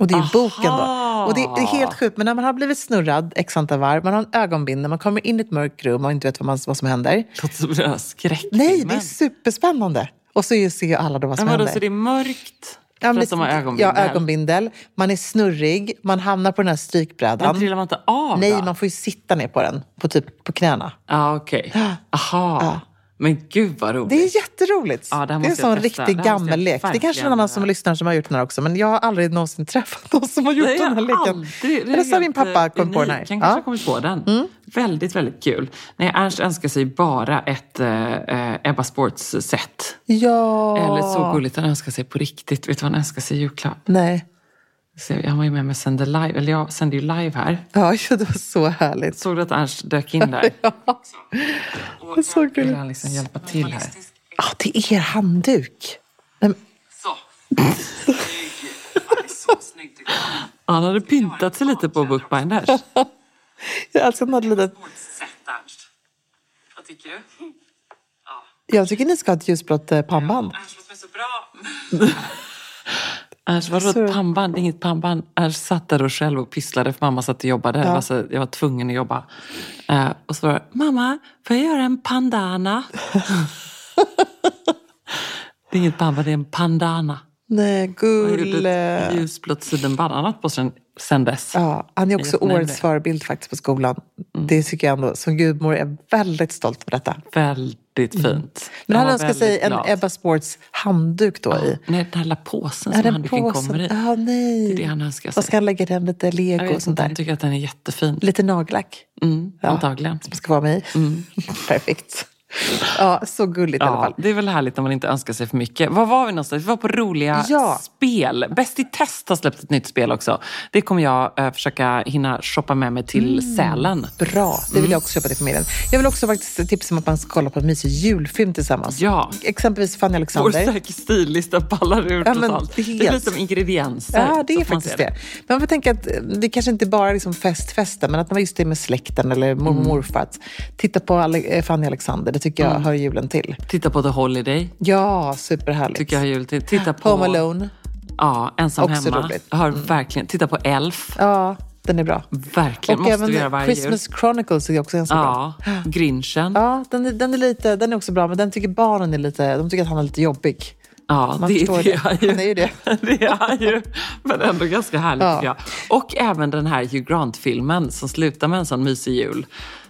Speaker 2: Och det är ju boken då. Och det är helt sjukt, men när man har blivit snurrad x antal varv, man har en ögonbindel, man kommer in i ett mörkt rum och inte vet vad, man, vad som händer.
Speaker 1: Låter som en skräck.
Speaker 2: Nej, det är superspännande! Och så ju- ser ju alla då vad som
Speaker 1: Men vadå,
Speaker 2: händer.
Speaker 1: så det är mörkt för
Speaker 2: Ja, men
Speaker 1: att de har
Speaker 2: lite-
Speaker 1: ögonbindel?
Speaker 2: Ja, ögonbindel. Man är snurrig, man hamnar på den här strykbrädan.
Speaker 1: Men trillar man inte av
Speaker 2: Nej,
Speaker 1: då?
Speaker 2: man får ju sitta ner på den, på, typ, på knäna.
Speaker 1: Ja, okej. Aha. Men gud vad roligt.
Speaker 2: Det är jätteroligt.
Speaker 1: Ja, det här
Speaker 2: det, är en
Speaker 1: måste jag
Speaker 2: sån
Speaker 1: testa. Det här
Speaker 2: riktig
Speaker 1: måste jag
Speaker 2: gammellek. Det är kanske någon
Speaker 1: verkligen
Speaker 2: annan som lyssnar som har gjort den här också, men jag har aldrig någonsin träffat någon som har gjort
Speaker 1: Nej,
Speaker 2: den här
Speaker 1: jag har
Speaker 2: leken.
Speaker 1: aldrig- det är
Speaker 2: Eller så har din
Speaker 1: helt,
Speaker 2: pappa
Speaker 1: eh,
Speaker 2: kommit på den
Speaker 1: unik.
Speaker 2: här.
Speaker 1: Han kanske har
Speaker 2: Ja. Mm.
Speaker 1: kommit på den. Väldigt, väldigt kul. Nej, Ernst önskar sig bara ett eh, eh, Ebba Sports-set.
Speaker 2: ja.
Speaker 1: Eller så gulligt, han önskar sig på riktigt. Vet du vad han önskar sig i julklapp?
Speaker 2: Nej.
Speaker 1: Så Han var ju med mig och sände live, eller jag sände ju live här.
Speaker 2: Ja, ja, det var så härligt.
Speaker 1: Såg du att Ernst dök in där?
Speaker 2: Det är så
Speaker 1: Vill
Speaker 2: gulligt.
Speaker 1: han liksom hjälpa till här?
Speaker 2: Ja, det är er handduk. Nej, men-
Speaker 4: Så. Snygg. Han är så snygg tycker jag.
Speaker 1: Han hade pyntat sig lite på Bookbinders.
Speaker 2: Jag älskar att den hade litet...
Speaker 4: Vårt sätt Ernst. Vad tycker du?
Speaker 2: Jag tycker ni ska ha ett ljusblått eh, pannband.
Speaker 4: Ernst låter mig så bra.
Speaker 1: Ernst, vadå
Speaker 2: Så-
Speaker 1: ett pannband? Inget pannband. Ernst satt där och själv och pysslade för mamma satt och jobbade. Jag, var så, jag var tvungen att jobba. Eh, och så var det, mamma, får jag göra en pandana? det är inget pannband, det är en pandana.
Speaker 2: Nej,
Speaker 1: Han gjorde
Speaker 2: gulle.
Speaker 1: ett ljusblått sidenband. Han har haft på sig sen dess.
Speaker 2: Ja, han är också
Speaker 1: jättenöjd med
Speaker 2: årets
Speaker 1: det.
Speaker 2: förebild faktiskt på skolan.
Speaker 1: Mm.
Speaker 2: Det tycker jag ändå. Som gudmor är jag väldigt stolt över detta.
Speaker 1: Väldigt fint.
Speaker 2: Mm. Men
Speaker 1: Jag
Speaker 2: han
Speaker 1: var
Speaker 2: önskar sig
Speaker 1: väldigt
Speaker 2: en
Speaker 1: glad.
Speaker 2: Ebba Sports handduk då i.
Speaker 1: Nej, den här lilla påsen
Speaker 2: Är
Speaker 1: som
Speaker 2: den
Speaker 1: handduken
Speaker 2: påsen?
Speaker 1: kommer i.
Speaker 2: Ja, nej.
Speaker 1: Det är det han önskar sig.
Speaker 2: Vad ska han lägga den? Lite
Speaker 1: jag
Speaker 2: lego
Speaker 1: vet
Speaker 2: och sånt
Speaker 1: inte,
Speaker 2: där?
Speaker 1: han tycker att den är jättefin.
Speaker 2: Lite nagellack?
Speaker 1: Mm, Antagligen. Mm.
Speaker 2: Som ska vara med i? Perfekt. Ja, så gulligt i alla fall.
Speaker 1: Ja, det är väl härligt om man inte önskar sig för mycket. Var var vi någonstans? Vi var på roliga
Speaker 2: Ja.
Speaker 1: spel. Bäst i test har släppt ett nytt spel också. Det kommer jag eh, försöka hinna shoppa med mig till
Speaker 2: Mm.
Speaker 1: Sälen.
Speaker 2: Bra, det
Speaker 1: Mm.
Speaker 2: vill jag också köpa till familjen. Jag vill också faktiskt tipsa om att man ska kolla på en mysig julfilm tillsammans.
Speaker 1: Ja.
Speaker 2: Exempelvis Fanny
Speaker 1: Vår
Speaker 2: Alexander.
Speaker 1: säker stillista ballar ur
Speaker 2: Ja, men
Speaker 1: totalt. Det är
Speaker 2: helt.
Speaker 1: lite som ingredienser.
Speaker 2: Ja, det
Speaker 1: så får
Speaker 2: är
Speaker 1: Typ, man
Speaker 2: faktiskt
Speaker 1: se
Speaker 2: det. Men man får tänka att eh, det kanske inte bara är liksom fest, festen, men att man just det med släkten eller mormor
Speaker 1: Mm.
Speaker 2: och morfar. Att titta på Ale- eh, Fanny Alexander, det tycker jag hör julen till.
Speaker 1: Titta på The Holiday.
Speaker 2: Ja, superhärligt.
Speaker 1: Tycker jag har jul till. Titta på
Speaker 2: Home Alone,
Speaker 1: Ja, ensam
Speaker 2: Också
Speaker 1: hemma.
Speaker 2: roligt. Mm.
Speaker 1: Har verkligen. Titta på Elf.
Speaker 2: ja, den är bra.
Speaker 1: Verkligen.
Speaker 2: och
Speaker 1: Måste
Speaker 2: även
Speaker 1: vi göra varje
Speaker 2: Christmas Chronicles är också ganska
Speaker 1: jul.
Speaker 2: bra.
Speaker 1: Ja, Grinchen.
Speaker 2: Ja, den är, den, är lite, den är också bra, men den tycker barnen är lite, de tycker att han är lite jobbig.
Speaker 1: Ja,
Speaker 2: Man
Speaker 1: det,
Speaker 2: förstår
Speaker 1: det är
Speaker 2: det.
Speaker 1: ju
Speaker 2: Han är ju det.
Speaker 1: det är ju, men ändå ganska härligt
Speaker 2: Ja.
Speaker 1: tycker jag. Och även den här Hugh Grant-filmen som slutar med en sån mysig jul.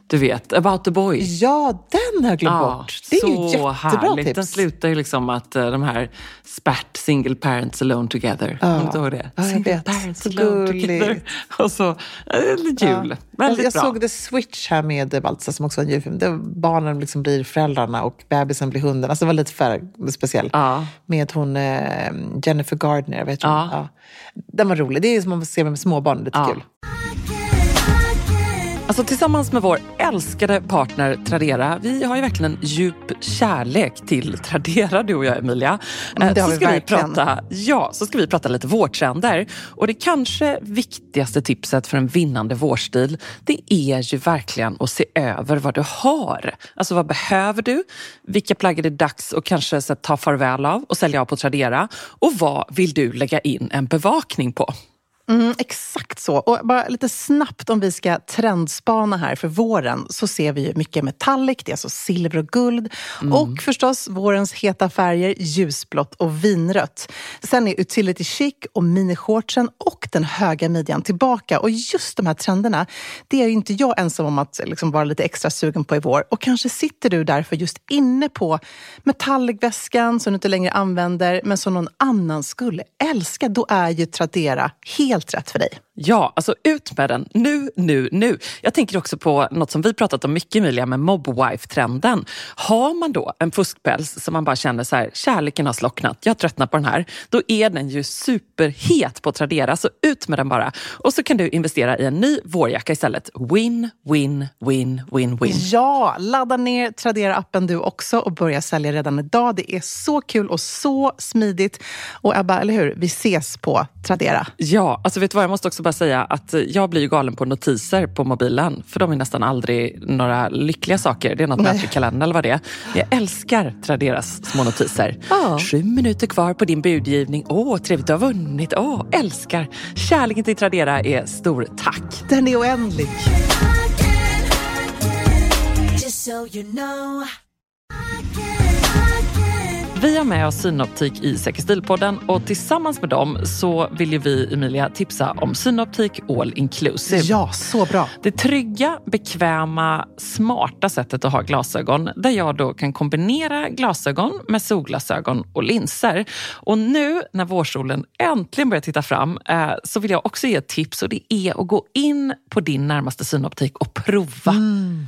Speaker 1: Du vet, About the Boy.
Speaker 2: Ja, den har jag glömt bort. Det är ju
Speaker 1: så
Speaker 2: jättebra
Speaker 1: härligt.
Speaker 2: tips.
Speaker 1: Den slutar ju liksom att eh, de här Spert, single parents alone together. Kommer du inte ihåg det?
Speaker 2: Ja, jag
Speaker 1: single
Speaker 2: vet.
Speaker 1: parents
Speaker 2: Så
Speaker 1: alone
Speaker 2: gulligt.
Speaker 1: together. Och så, eh, lite jul.
Speaker 2: jag
Speaker 1: Väldigt
Speaker 2: Alltså, jag
Speaker 1: bra.
Speaker 2: såg The Switch här med eh, Baltzar som också var en julfilm. Där barnen liksom blir föräldrarna och bebisen blir hunden. Alltså det var lite för speciell.
Speaker 1: Ja.
Speaker 2: Med hon eh, Jennifer Gardner, vet du?
Speaker 1: Ja.
Speaker 2: Ja. Den var rolig. Det är som att se med småbarn, lite
Speaker 1: Ja.
Speaker 2: kul.
Speaker 3: I can,
Speaker 1: Alltså tillsammans med vår älskade partner Tradera, vi har ju verkligen en djup kärlek till Tradera du och jag Emilia.
Speaker 2: Mm, det
Speaker 1: Eh,
Speaker 2: har
Speaker 1: så
Speaker 2: vi
Speaker 1: ska
Speaker 2: verkligen.
Speaker 1: prata, ja, så ska vi prata lite vårtrender. Och det kanske viktigaste tipset för en vinnande vårstil, det är ju verkligen att se över vad du har. Alltså vad behöver du? Vilka plagg är det dags att kanske så, här, ta farväl av och sälja av på Tradera? Och vad vill du lägga in en bevakning på?
Speaker 2: Mm, exakt så. Och bara lite snabbt om vi ska trendspana här för våren så ser vi ju mycket metallic, det är alltså silver och guld.
Speaker 1: Mm.
Speaker 2: Och förstås vårens heta färger, ljusblått och vinrött. Sen är utility chic och minishortsen och den höga midjan tillbaka. Och just de här trenderna, det är ju inte jag ensam om att liksom vara lite extra sugen på i vår. Och kanske sitter du därför just inne på metallicväskan som du inte längre använder men som någon annan skulle älska. Då är ju Tradera helt rätt för dig.
Speaker 1: Ja, alltså ut med den. Nu, nu, nu. Jag tänker också på något som vi pratat om mycket Emilia med mobwife-trenden. Har man då en fuskpäls som man bara känner så här, kärleken har slocknat, jag tröttnar på den här. Då är den ju superhet på Tradera, så ut med den bara. Och så kan du investera i en ny vårjacka istället. Win, win, win, win, win.
Speaker 2: Ja, ladda ner Tradera-appen du också och börja sälja redan idag. Det är så kul och så smidigt. Och Ebba, eller hur? Vi ses på Tradera.
Speaker 1: Ja, alltså vet du vad, jag måste också bara säga att jag blir ju galen på notiser på mobilen. För de är nästan aldrig några lyckliga saker. Det är något med att det är kalender eller vad det är. Jag älskar Traderas små notiser.
Speaker 2: Ja.
Speaker 1: Sju minuter kvar på din budgivning. Åh, trevligt du har vunnit. Åh, älskar. Kärleken till Tradera är stor. Tack!
Speaker 2: Den är oändlig.
Speaker 3: Just so you know. I can,
Speaker 1: Vi har med oss Synoptik i Säker stil-podden och tillsammans med dem så vill ju vi, Emilia, tipsa om Synoptik All Inclusive.
Speaker 2: Ja, så bra.
Speaker 1: Det trygga, bekväma, smarta sättet att ha glasögon där jag då kan kombinera glasögon med solglasögon och linser. Och nu när vårsolen äntligen börjar titta fram eh, så vill jag också ge ett tips och det är att gå in på din närmaste synoptik och prova.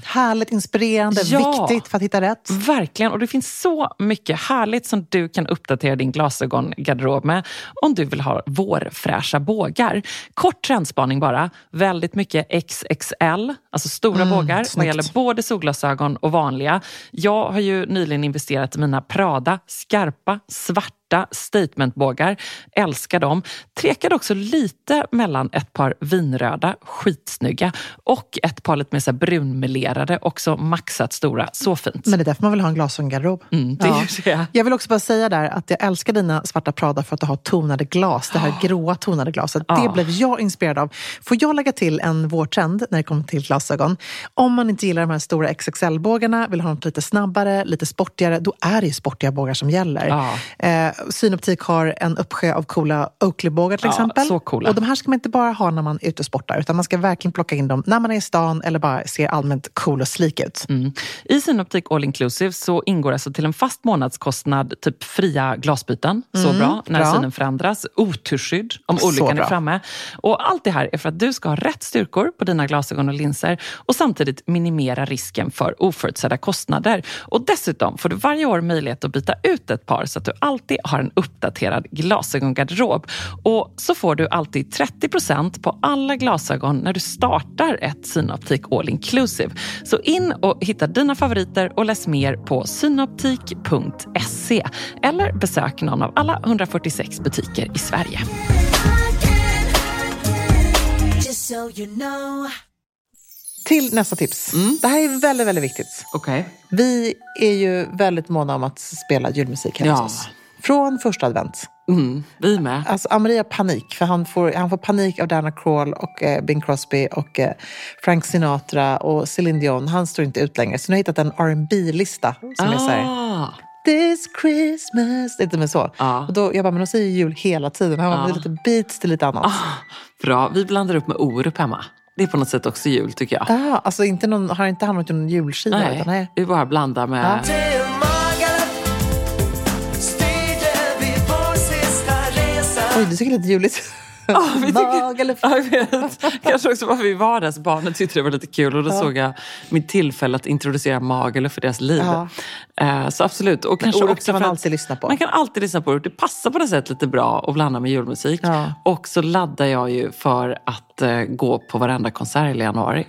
Speaker 2: Härligt, inspirerande,
Speaker 1: Ja.
Speaker 2: viktigt för att hitta rätt.
Speaker 1: Verkligen. Och det finns så mycket härligt som du kan uppdatera din glasögongarderob med om du vill ha vårfräscha bågar. Kort trendspaning bara. Väldigt mycket XXL, alltså stora bågar vad
Speaker 2: snyggt.
Speaker 1: gäller både solglasögon och vanliga. Jag har ju nyligen investerat i mina Prada skarpa, svarta statementbågar. Älskar dem. Trekade också lite mellan ett par vinröda, skitsnygga och ett par lite mer så här brunmelerade, också maxat stora. Så fint.
Speaker 2: Men det är därför man vill ha en glasögongarderob.
Speaker 1: Mm, det är ju det.
Speaker 2: Jag vill också bara säga där att jag älskar dina svarta Prada för att du har tonade glas. Det
Speaker 1: Ah.
Speaker 2: här gråa tonade glaset. Det
Speaker 1: Ja.
Speaker 2: blev jag inspirerad av. Får jag lägga till en vårtrend när det kommer till glasögon? Om man inte gillar de här stora XXL-bågarna, vill ha något lite snabbare, lite sportigare, då är det ju sportiga bågar som gäller.
Speaker 1: Ja.
Speaker 2: Eh, Synoptik har en uppsjö av coola Oakley-bågar till
Speaker 1: Ja,
Speaker 2: exempel.
Speaker 1: Ah, så coola.
Speaker 2: Och de här ska man inte bara ha när man är ute och sportar, utan man ska verkligen plocka in dem när man är i stan eller bara ser allmänt cool och slik ut.
Speaker 1: Mm. I Synoptik All Inclusive så ingår alltså till en fast månadskostnad typ fria glasbyten. Så bra. När
Speaker 2: bra.
Speaker 1: synen förändras. Oturskydd om
Speaker 2: Så
Speaker 1: olyckan är
Speaker 2: bra.
Speaker 1: framme. Och allt det här är för att du ska ha rätt styrkor på dina glasögon och linser och samtidigt minimera risken för oförutsedda kostnader. Och dessutom får du varje år möjlighet att byta ut ett par så att du alltid har en uppdaterad glasögongarderob. Och så får du alltid 30 på alla glasögon när du startar ett Synoptik All Inclusive. Så in och hitta dina favoriter och läs mer på synoptik.se eller besök någon av alla 146 butiker i Sverige.
Speaker 3: I can, just so you know.
Speaker 2: Till nästa tips.
Speaker 1: Mm.
Speaker 2: Det här är väldigt, väldigt viktigt.
Speaker 1: Okej.
Speaker 2: Vi är ju väldigt måna om att spela julmusik hemma
Speaker 1: Ja.
Speaker 2: hos oss. Från första advent.
Speaker 1: Mm, vi med.
Speaker 2: Alltså Amri har panik, för han får, han får panik av Dana Crawl och eh, Bing Crosby och eh, Frank Sinatra och Celine Dion. Han står inte ut längre. Så nu har jag hittat en rb lista som är så här,
Speaker 1: Ah.
Speaker 2: This Christmas. Det är Lite med så.
Speaker 1: Ja.
Speaker 2: Och då, jag bara, men de säger ju jul hela tiden. Han bara,
Speaker 1: Ja.
Speaker 2: det är lite beats, det är lite annat.
Speaker 1: Ah. Bra. Vi blandar upp med Orup hemma. Det är på något sätt också jul tycker jag.
Speaker 2: Ah, alltså inte någon, har inte han varit någon julskiva?
Speaker 1: Nej,
Speaker 2: Utan, nej.
Speaker 1: vi bara blandar med...
Speaker 2: Oj, det tycker lite juligt.
Speaker 1: Ja, vi tycker-
Speaker 2: Magaluf.
Speaker 1: Ja, jag vet. Kanske också varför vi var där, så barnen tyckte det var lite kul. Och då såg jag mitt tillfälle att introducera Magaluf för deras liv.
Speaker 2: Ja.
Speaker 1: Eh, Så absolut. Och kanske
Speaker 2: Orup
Speaker 1: också
Speaker 2: kan man
Speaker 1: för att-
Speaker 2: alltid lyssna på.
Speaker 1: Man kan alltid lyssna på Orup. Det passar på något sätt lite bra att blanda med julmusik.
Speaker 2: Ja.
Speaker 1: Och så laddar jag ju för att eh, gå på varenda konsert i januari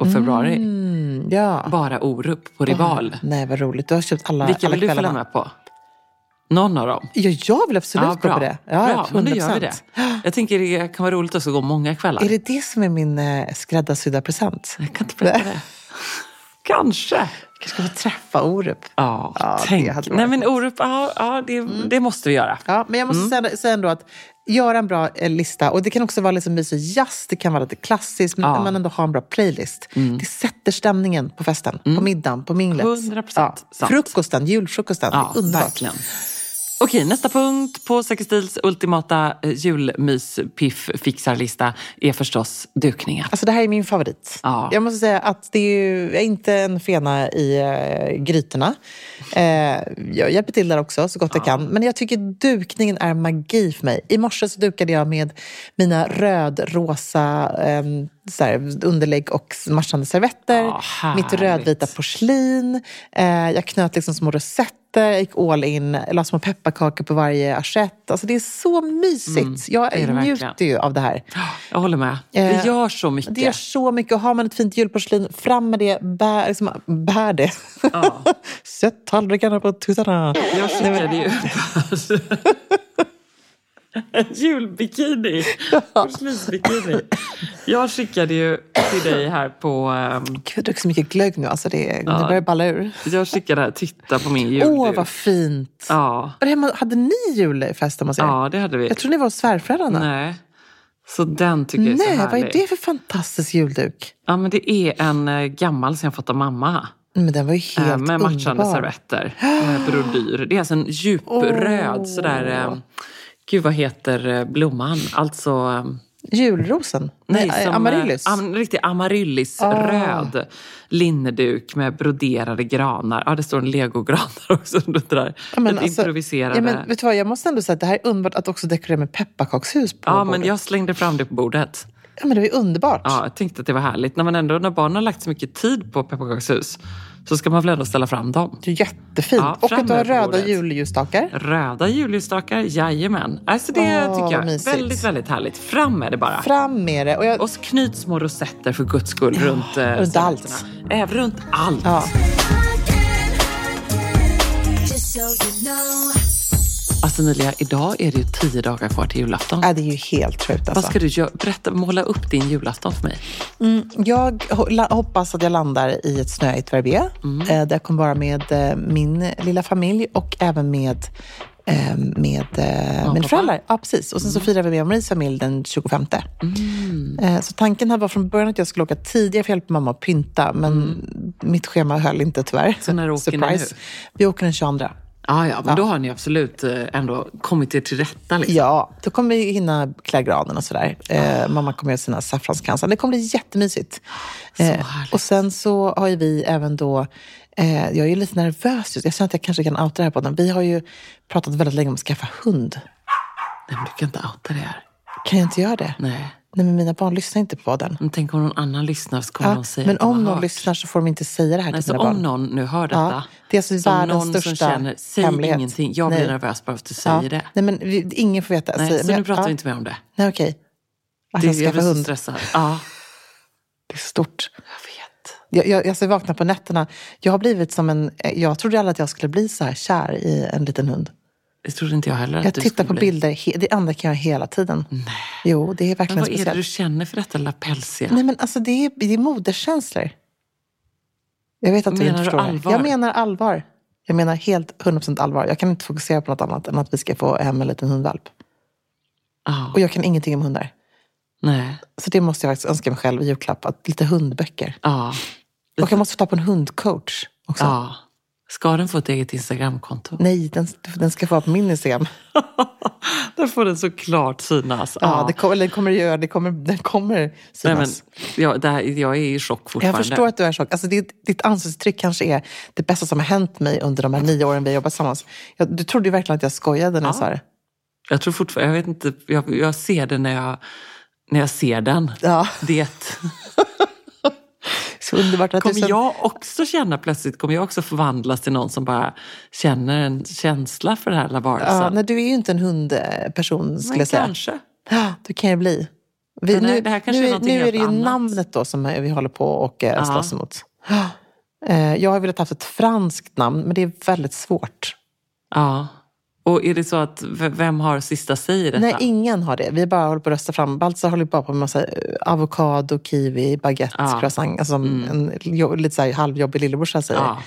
Speaker 1: och februari.
Speaker 2: Mm, ja.
Speaker 1: Bara Orup på Rival.
Speaker 2: Nej, vad roligt. Du har köpt alla,
Speaker 1: Vilka
Speaker 2: alla
Speaker 1: vill du följa
Speaker 2: kvällarna.
Speaker 1: med på? Någon av dem?
Speaker 2: Ja, jag vill absolut gå på det. Ja,
Speaker 1: bra, men då gör vi det.
Speaker 2: 100%.
Speaker 1: Jag tänker det kan vara roligt också att gå många kvällar.
Speaker 2: Är det det som är min eh, skräddarsydda present?
Speaker 1: Jag kan inte berätta det. Kanske.
Speaker 2: Jag kanske ska få träffa Orup.
Speaker 1: Ja,
Speaker 2: Ja, det
Speaker 1: tänk.
Speaker 2: hade varit Mm.
Speaker 1: Nej men Orup, ja, ja det, det måste vi göra.
Speaker 2: Ja, men jag måste
Speaker 1: Mm.
Speaker 2: säga, säga ändå att göra en bra eh, lista, och det kan också vara liksom mysig jazz, det kan vara lite klassiskt, men
Speaker 1: Ja. Mm.
Speaker 2: att man ändå har en bra playlist. Det sätter stämningen på festen, på middagen, på minglet.
Speaker 1: 100% Mm. sant.
Speaker 2: Frukosten, julfrukosten,
Speaker 1: Ja,
Speaker 2: det är underbart.
Speaker 1: verkligen. Okej, nästa punkt på Sextils ultimata eh, julmys-piff-fixarlista är förstås dukningar.
Speaker 2: Alltså det här är min favorit.
Speaker 1: Ja.
Speaker 2: Jag måste säga att det är ju inte en fena i eh, grytorna. Eh, jag hjälper till där också så gott jag kan. Men jag tycker dukningen är magi för mig. I morse så dukade jag med mina röd-rosa eh, så här, underlägg och matchande servetter.
Speaker 1: Ja, härligt.
Speaker 2: mitt rödvita porslin. Eh, jag knöt liksom små rosetter. Jag gick all in, la små pepparkakor på varje assiett. Alltså det är så mysigt. jag
Speaker 1: Mm, det är det verkligen.
Speaker 2: njuter ju av det här.
Speaker 1: Jag håller med. Det
Speaker 2: Ah. Eh,
Speaker 1: gör så mycket.
Speaker 2: Det gör så mycket. Och har man ett fint julporslin, fram med det, bär, liksom, bär det.
Speaker 1: Ja.
Speaker 2: Sätt tallrikarna på tuttarna.
Speaker 1: Jag skickade ju en julbikini. Porslinsbikini. Jag skickade ju till dig här på... ehm,
Speaker 2: Gud, jag dricker så mycket glögg nu. Alltså det, det börjar balla ur.
Speaker 1: Jag skickade här, titta på min jul.
Speaker 2: Åh, vad fint.
Speaker 1: Ja,
Speaker 2: Var det hemma, hade ni julfest hemma hos er?
Speaker 1: ja, det hade vi.
Speaker 2: Jag tror ni var hos svärföräldrarna.
Speaker 1: Nej. Så den tycker jag är så
Speaker 2: Nej, vad
Speaker 1: härlig.
Speaker 2: är det för fantastisk julduk?
Speaker 1: Ja, men det är en eh, gammal som jag fått av mamma.
Speaker 2: Men den var ju helt
Speaker 1: eh, med matchande
Speaker 2: underbar.
Speaker 1: servetter. Med brodyr. Det är alltså en djupröd
Speaker 2: Åh.
Speaker 1: sådär... Eh, gud, vad heter eh, blomman? Alltså... ehm,
Speaker 2: Julrosen? Nej,
Speaker 1: som,
Speaker 2: amaryllis?
Speaker 1: eh, am- riktig amaryllis,
Speaker 2: Ah.
Speaker 1: röd linneduk med broderade granar. Ja, det står en legogranar också under det där.
Speaker 2: Ja, men
Speaker 1: Lite
Speaker 2: alltså-
Speaker 1: improviserade.
Speaker 2: ja, men, vet du vad, jag måste ändå säga att det här är underbart att också dekorera med pepparkakshus på
Speaker 1: Ja,
Speaker 2: bordet.
Speaker 1: men jag slängde fram det på bordet.
Speaker 2: ja, men det var ju underbart.
Speaker 1: Ja, jag tänkte att det var härligt. När, man ändå, när barnen har lagt så mycket tid på pepparkakshus så ska man väl ändå ställa fram dem.
Speaker 2: Det är Jättefint.
Speaker 1: Ja,
Speaker 2: och att du
Speaker 1: framme
Speaker 2: har
Speaker 1: på
Speaker 2: röda
Speaker 1: bordet.
Speaker 2: julljusstakar.
Speaker 1: Röda julljusstakar, jajamän. Alltså det
Speaker 2: Åh,
Speaker 1: tycker jag
Speaker 2: vad
Speaker 1: är
Speaker 2: mysigt.
Speaker 1: väldigt, väldigt härligt. Fram med det bara.
Speaker 2: Fram med det. Och jag,
Speaker 1: Och så knyt små rosetter för guds skull runt eh,
Speaker 2: runt allt.
Speaker 1: servetterna. Även runt allt.
Speaker 2: ja.
Speaker 3: Just so you know.
Speaker 1: Alltså Emilia, idag är det ju tio dagar kvar till julafton.
Speaker 2: Ja, äh, det är ju helt sjukt
Speaker 1: Vad
Speaker 2: alltså. Mm,
Speaker 1: ska du göra? Berätta, måla upp din julafton för mig.
Speaker 2: Jag ho- la- hoppas att jag landar i ett snöigt Verbier.
Speaker 1: Mm.
Speaker 2: Eh, där jag kommer vara med eh, min lilla familj och även med eh, med eh, mina
Speaker 1: pappa. Mm.
Speaker 2: föräldrar. Ja, precis. Och sen så firar vi med Maries familj den 25. Eh, Så tanken här var från början att jag skulle åka tidigare för att hjälpa mamma att pynta, men mitt schema höll inte tyvärr.
Speaker 1: Mm. Så när åker ni nu?
Speaker 2: Surprise. Vi åker den 22.
Speaker 1: Ah, ja, men då har ni absolut eh, ändå kommit er till rätta. Liksom.
Speaker 2: Ja, då kommer vi hinna klä granen och sådär. Eh, mamma kommer göra sina saffranskransar. Det kommer bli jättemysigt. Eh,
Speaker 1: härligt.
Speaker 2: och sen så har ju vi även då, eh, jag är ju lite nervös just Jag känner att jag kanske kan outa det här på den. Vi har ju pratat väldigt länge om att skaffa hund.
Speaker 1: Nej, men du kan inte outa det här.
Speaker 2: Kan jag inte göra det?
Speaker 1: Nej.
Speaker 2: Nej, men mina barn lyssnar inte på den.
Speaker 1: Men tänk om någon annan lyssnar så kommer
Speaker 2: Ja,
Speaker 1: de säga
Speaker 2: men
Speaker 1: att de har
Speaker 2: om någon
Speaker 1: hört.
Speaker 2: lyssnar så får de inte säga det här
Speaker 1: Nej,
Speaker 2: till
Speaker 1: så
Speaker 2: sina
Speaker 1: om
Speaker 2: barn.
Speaker 1: någon nu hör detta.
Speaker 2: Ja, det är alltså
Speaker 1: som
Speaker 2: världens
Speaker 1: någon
Speaker 2: största
Speaker 1: som känner, säg
Speaker 2: hemlighet.
Speaker 1: ingenting. Jag blir
Speaker 2: Nej.
Speaker 1: nervös bara för att du
Speaker 2: Ja.
Speaker 1: säger det.
Speaker 2: Nej, men vi, ingen får veta.
Speaker 1: Nej,
Speaker 2: Säg-
Speaker 1: så
Speaker 2: men-
Speaker 1: nu pratar
Speaker 2: ja.
Speaker 1: vi inte mer om det.
Speaker 2: Nej, okej. Att
Speaker 1: det
Speaker 2: jag
Speaker 1: jag
Speaker 2: skaffar
Speaker 1: blir så
Speaker 2: hund.
Speaker 1: stressad. Ja,
Speaker 2: Det är stort.
Speaker 1: jag vet.
Speaker 2: Jag, jag, jag ser vakna på nätterna. Jag har blivit som en... eh, Jag trodde aldrig att jag skulle bli så här kär i en liten hund.
Speaker 1: Det trodde inte jag heller att
Speaker 2: Jag
Speaker 1: du
Speaker 2: tittar
Speaker 1: skulle
Speaker 2: på
Speaker 1: bli.
Speaker 2: bilder. he- Det andra kan jag hela tiden. Jo, det är
Speaker 1: Men
Speaker 2: verkligen
Speaker 1: vad är det du
Speaker 2: speciellt.
Speaker 1: känner för detta lilla pälsiga?
Speaker 2: Nej, men alltså det är, det är moderskänslor. Jag vet att du
Speaker 1: Menar
Speaker 2: inte
Speaker 1: du
Speaker 2: förstår. det.
Speaker 1: allvar?
Speaker 2: Jag menar allvar. Jag menar helt 100% allvar. Jag kan inte fokusera på något annat än att vi ska få hem en liten hundvalp.
Speaker 1: Ja,
Speaker 2: Och jag kan ingenting om hundar.
Speaker 1: nej.
Speaker 2: Så det måste jag faktiskt önska mig själv i julklapp. Att lite hundböcker.
Speaker 1: Ja.
Speaker 2: Och jag måste få ta på en hundcoach också.
Speaker 1: Ja. Ska den få ett eget Instagramkonto?
Speaker 2: Nej, den, den ska få vara på min Instagram.
Speaker 1: Där får den såklart synas.
Speaker 2: Ja, det, kom, eller det kommer det göra. Det kommer, det kommer
Speaker 1: Nej,
Speaker 2: synas.
Speaker 1: men, ja, det här, jag är i chock
Speaker 2: jag
Speaker 1: fortfarande.
Speaker 2: förstår att du är chock. Alltså, ditt, ditt ansiktsuttryck kanske är det bästa som har hänt mig under de här nio åren vi har jobbat tillsammans. Jag, du trodde ju verkligen att jag skojade när jag sa det.
Speaker 1: Jag tror fortfarande, jag vet inte, jag, jag ser det när jag, när jag ser den.
Speaker 2: Ja.
Speaker 1: Det.
Speaker 2: Så underbart att du
Speaker 1: Kommer
Speaker 2: sen,
Speaker 1: jag också känna plötsligt, kommer jag också förvandlas till någon som bara känner en känsla för den här lilla
Speaker 2: ja,
Speaker 1: varelsen?
Speaker 2: nej, Du är ju inte en hundperson skulle
Speaker 1: Men
Speaker 2: jag säga.
Speaker 1: kanske.
Speaker 2: Ja, du kan ju bli. Vi,
Speaker 1: Men det-
Speaker 2: nu
Speaker 1: det här kanske
Speaker 2: nu,
Speaker 1: är
Speaker 2: är-
Speaker 1: någonting
Speaker 2: nu är det ju
Speaker 1: helt annat.
Speaker 2: namnet då som vi håller på och eh,
Speaker 1: Ja.
Speaker 2: slåss emot. Eh, Jag har velat haft ett franskt namn, men det är väldigt svårt.
Speaker 1: Ja. Och är det så att, v- vem har sista säg i detta?
Speaker 2: Nej, ingen har det. Vi bara håller på att rösta fram. Baltzar håller bara på med massa eh, avokado, kiwi, baguette,
Speaker 1: Ja. Mm.
Speaker 2: croissant. Alltså som en jo- lite så här halvjobbig lillebrorsa säger.
Speaker 1: Ja.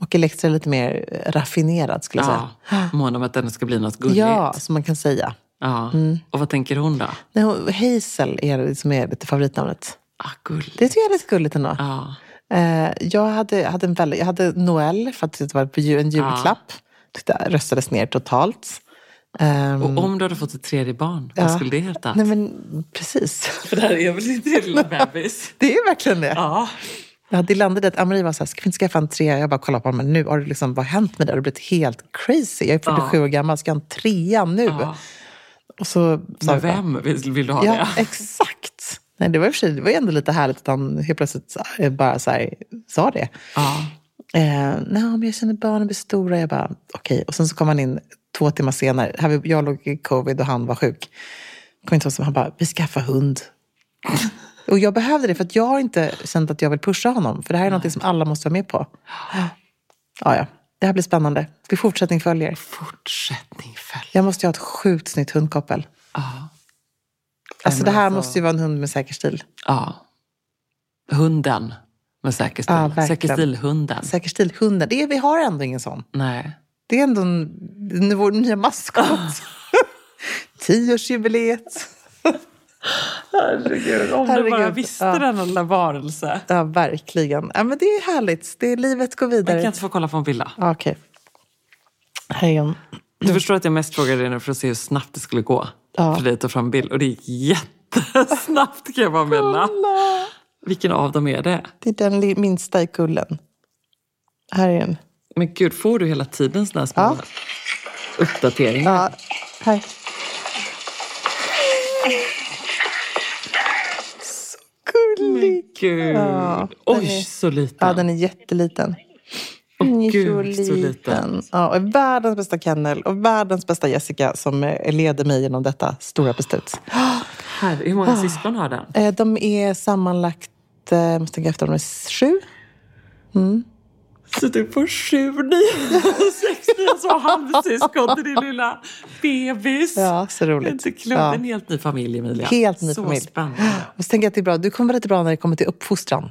Speaker 2: Och Elektra är lite mer eh, raffinerad skulle jag
Speaker 1: ja.
Speaker 2: säga.
Speaker 1: Mån om att den ska bli något gulligt.
Speaker 2: Ja, Mm. som man kan säga.
Speaker 1: Ja. Och vad tänker hon då?
Speaker 2: Nej, hon- Hazel är det som är lite favoritnamnet.
Speaker 1: Ah, gulligt.
Speaker 2: Det tycker jag är lite gulligt ändå.
Speaker 1: Ja.
Speaker 2: Eh, jag, hade, hade en väldigt, jag hade Noel för att det var på ju- en julklapp. titta, röstades ner totalt. Ehm,
Speaker 1: Och om du hade fått ett tredje barn, vad
Speaker 2: Ja.
Speaker 1: skulle det heta?
Speaker 2: Nej men precis.
Speaker 1: För det här är väl inte lilla bebis?
Speaker 2: Det är verkligen det.
Speaker 1: Ja.
Speaker 2: Ja, det landade i att Ann-Marie var så här, ska vi inte skaffa en trea? Jag bara kollade på honom, men nu har du liksom, vad har hänt med det? Har du blivit helt crazy? Jag är 47 år gammal, ska jag ha en trea nu?
Speaker 1: ja.
Speaker 2: Och så sa
Speaker 1: Men
Speaker 2: vi bara,
Speaker 1: vem vill, vill du ha
Speaker 2: Ja,
Speaker 1: det?
Speaker 2: exakt. Nej, det var i och för sig, det var ju ändå lite härligt att han helt plötsligt eh, bara så här, sa det.
Speaker 1: Ja.
Speaker 2: Eh, Nej, men jag känner barnen blir stora. Jag bara, okej. Och sen så kom han in två timmar senare. Här, vi- jag låg i covid och han var sjuk. Kom inte ihåg, så han bara, vi skaffar hund. och jag behövde det för att jag har inte känt att jag vill pusha honom. För det här är något som alla måste vara med på. Ja, ja. Det här blir spännande. Vi fortsättning följer.
Speaker 1: Fortsättning följer.
Speaker 2: Jag måste ju ha ett sjukt snyggt hundkoppel.
Speaker 1: Ja.
Speaker 2: Alltså det
Speaker 1: men
Speaker 2: här
Speaker 1: alltså-
Speaker 2: måste ju vara en hund med säker stil.
Speaker 1: ja. Hunden med säker stil.
Speaker 2: Ja, verkligen.
Speaker 1: säker stil-hunden.
Speaker 2: Säker stil, hunden. Det är, vi har ändå ingen sån.
Speaker 1: Nej.
Speaker 2: Det är ändå en, det är vår nya maskot. Tioårsjubileet.
Speaker 1: Herregud, om
Speaker 2: du bara visste
Speaker 1: den lilla varelse.
Speaker 2: Ja, verkligen. Ja, men det är härligt. Det är, livet går
Speaker 1: Jag kan
Speaker 2: vidare.
Speaker 1: inte få kolla på en villa.
Speaker 2: Ja, Okej. Här är en.
Speaker 1: Du förstår att jag mest frågade dig nu för att se hur snabbt det skulle gå
Speaker 2: Ja.
Speaker 1: för dig att ta fram bild. Och det gick jättesnabbt kan jag bara meddela. Vilken av dem är det?
Speaker 2: Det är den li- minsta i kullen. Här är en.
Speaker 1: Men gud, får du hela tiden såna här små
Speaker 2: Ja.
Speaker 1: uppdateringar?
Speaker 2: Ja, här. Så gullig.
Speaker 1: Gud.
Speaker 2: Ja, den
Speaker 1: Oj,
Speaker 2: är-
Speaker 1: så liten.
Speaker 2: Ja, den är jätteliten.
Speaker 1: Åh,
Speaker 2: Den är
Speaker 1: gud, så liten.
Speaker 2: liten. Ja, och är världens bästa kennel och världens bästa Jessica som eh, leder mig genom detta stora beslut.
Speaker 1: Här, hur
Speaker 2: Ah.
Speaker 1: många syskon har den?
Speaker 2: Eh, De är sammanlagt, eh, jag måste tänka efter, de är sju.
Speaker 1: Så du får sju, nio, sex, nio små halvsyskon till din lilla bebis.
Speaker 2: Ja, så
Speaker 1: Det är
Speaker 2: roligt.
Speaker 1: inte klokt.
Speaker 2: Ja.
Speaker 1: En helt ny familj, Emilia.
Speaker 2: Helt ny
Speaker 1: så
Speaker 2: familj.
Speaker 1: spännande.
Speaker 2: Och så tänker jag att det är bra, du kommer vara lite bra när det kommer till uppfostran.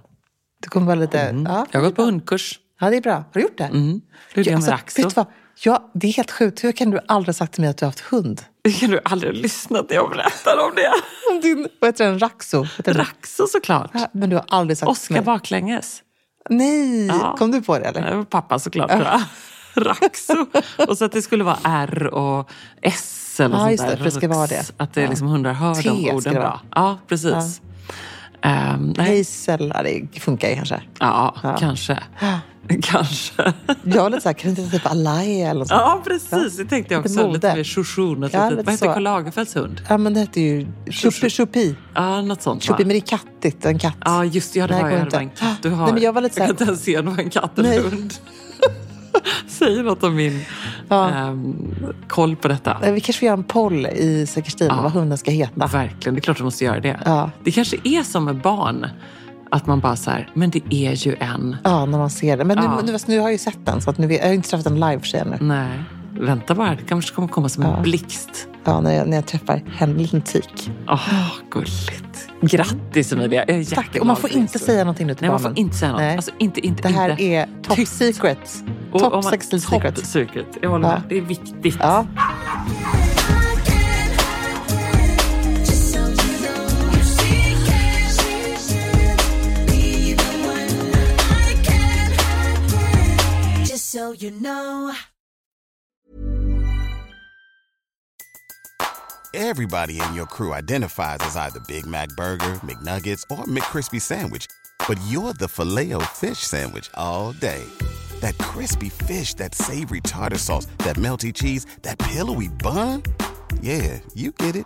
Speaker 2: Du kommer vara lite, ja,
Speaker 1: Jag har gått på hundkurs.
Speaker 2: ja, det är bra. Har du gjort det? Mm.
Speaker 1: Det är det med
Speaker 2: vet
Speaker 1: Raxo.
Speaker 2: du vad? Ja, det är helt sjukt. Hur kan du aldrig ha sagt till mig att du har haft hund?
Speaker 1: Det kan du aldrig lyssna när jag berättar om det.
Speaker 2: Din, vad heter den? Raxo? Heter den?
Speaker 1: Raxo såklart.
Speaker 2: Ja, Men du har aldrig sagt till
Speaker 1: Oskar
Speaker 2: mig.
Speaker 1: baklänges.
Speaker 2: Nej!
Speaker 1: Ja.
Speaker 2: Kom du på det eller?
Speaker 1: Det var Eh, pappa såklart. tror jag. Raxo. Och så att det skulle vara R och S eller
Speaker 2: Ja,
Speaker 1: sånt
Speaker 2: just det,
Speaker 1: där.
Speaker 2: för det ska vara det.
Speaker 1: Att det liksom hundar hör
Speaker 2: T
Speaker 1: de
Speaker 2: ska
Speaker 1: orden
Speaker 2: det
Speaker 1: bra.
Speaker 2: vara.
Speaker 1: Ja, precis. Ehm, nej,
Speaker 2: Hazel, ja, det funkar ju kanske.
Speaker 1: ja, kanske. Kanske.
Speaker 2: Jag var lite såhär, kan du inte typ Alaya eller något sånt?
Speaker 1: Ja, precis. Det tänkte jag
Speaker 2: Lite
Speaker 1: också. Lite
Speaker 2: mode.
Speaker 1: mer chouchoun.
Speaker 2: Ja,
Speaker 1: Vad
Speaker 2: lite
Speaker 1: hette
Speaker 2: så.
Speaker 1: Karl Lagerfelds hund?
Speaker 2: Ja, men det heter ju Choupi. Choupi,
Speaker 1: Ja, något sånt va?
Speaker 2: Choupi men det är kattigt, en katt.
Speaker 1: Ja, just det. Ja, det
Speaker 2: Nej,
Speaker 1: var,
Speaker 2: går
Speaker 1: jag, det
Speaker 2: inte.
Speaker 1: var en katt. Du
Speaker 2: Nej,
Speaker 1: har.
Speaker 2: men jag var lite
Speaker 1: kan
Speaker 2: så här-
Speaker 1: inte ens se om det var en katt eller
Speaker 2: Nej.
Speaker 1: en hund. Säger något om min
Speaker 2: Ja.
Speaker 1: ehm, koll på detta.
Speaker 2: Eh, Vi kanske får göra en poll i Säker stil, vad hunden ska heta.
Speaker 1: Verkligen, det är klart du måste göra det.
Speaker 2: Ja.
Speaker 1: Det kanske är som med barn. Att man bara så här, men det är ju en.
Speaker 2: Ja, när man ser den. Men nu,
Speaker 1: Ja. Mm.
Speaker 2: nu, nu har jag ju sett den, så att nu, vet- jag har ju inte träffat den live för sig ännu.
Speaker 1: Nej, vänta bara. Det kanske kommer komma som en blixt.
Speaker 2: Ja, när jag, när jag träffar henne, en liten tik.
Speaker 1: Åh, gulligt. Grattis Emilia. Jag är
Speaker 2: Tack,
Speaker 1: jätteglad
Speaker 2: och man får
Speaker 1: för din
Speaker 2: inte
Speaker 1: skull.
Speaker 2: säga någonting nu till
Speaker 1: Nej, man
Speaker 2: barnen.
Speaker 1: får inte säga något.
Speaker 2: Nej.
Speaker 1: Alltså, inte, inte,
Speaker 2: Det här
Speaker 1: inte.
Speaker 2: är top secret.
Speaker 1: Och- och man-
Speaker 2: Top Sex Stil
Speaker 1: Top
Speaker 2: secret.
Speaker 1: secret. Jag håller
Speaker 2: Ja.
Speaker 1: med. Det är viktigt.
Speaker 2: Ja,
Speaker 3: Just so you know, she can, she can be the one I can. Just so you know.
Speaker 5: Everybody in your crew identifies as either Big Mac Burger, McNuggets, or McCrispy Sandwich. But you're the filet fish Sandwich all day. That crispy fish, that savory tartar sauce, that melty cheese, that pillowy bun. Yeah, you get it.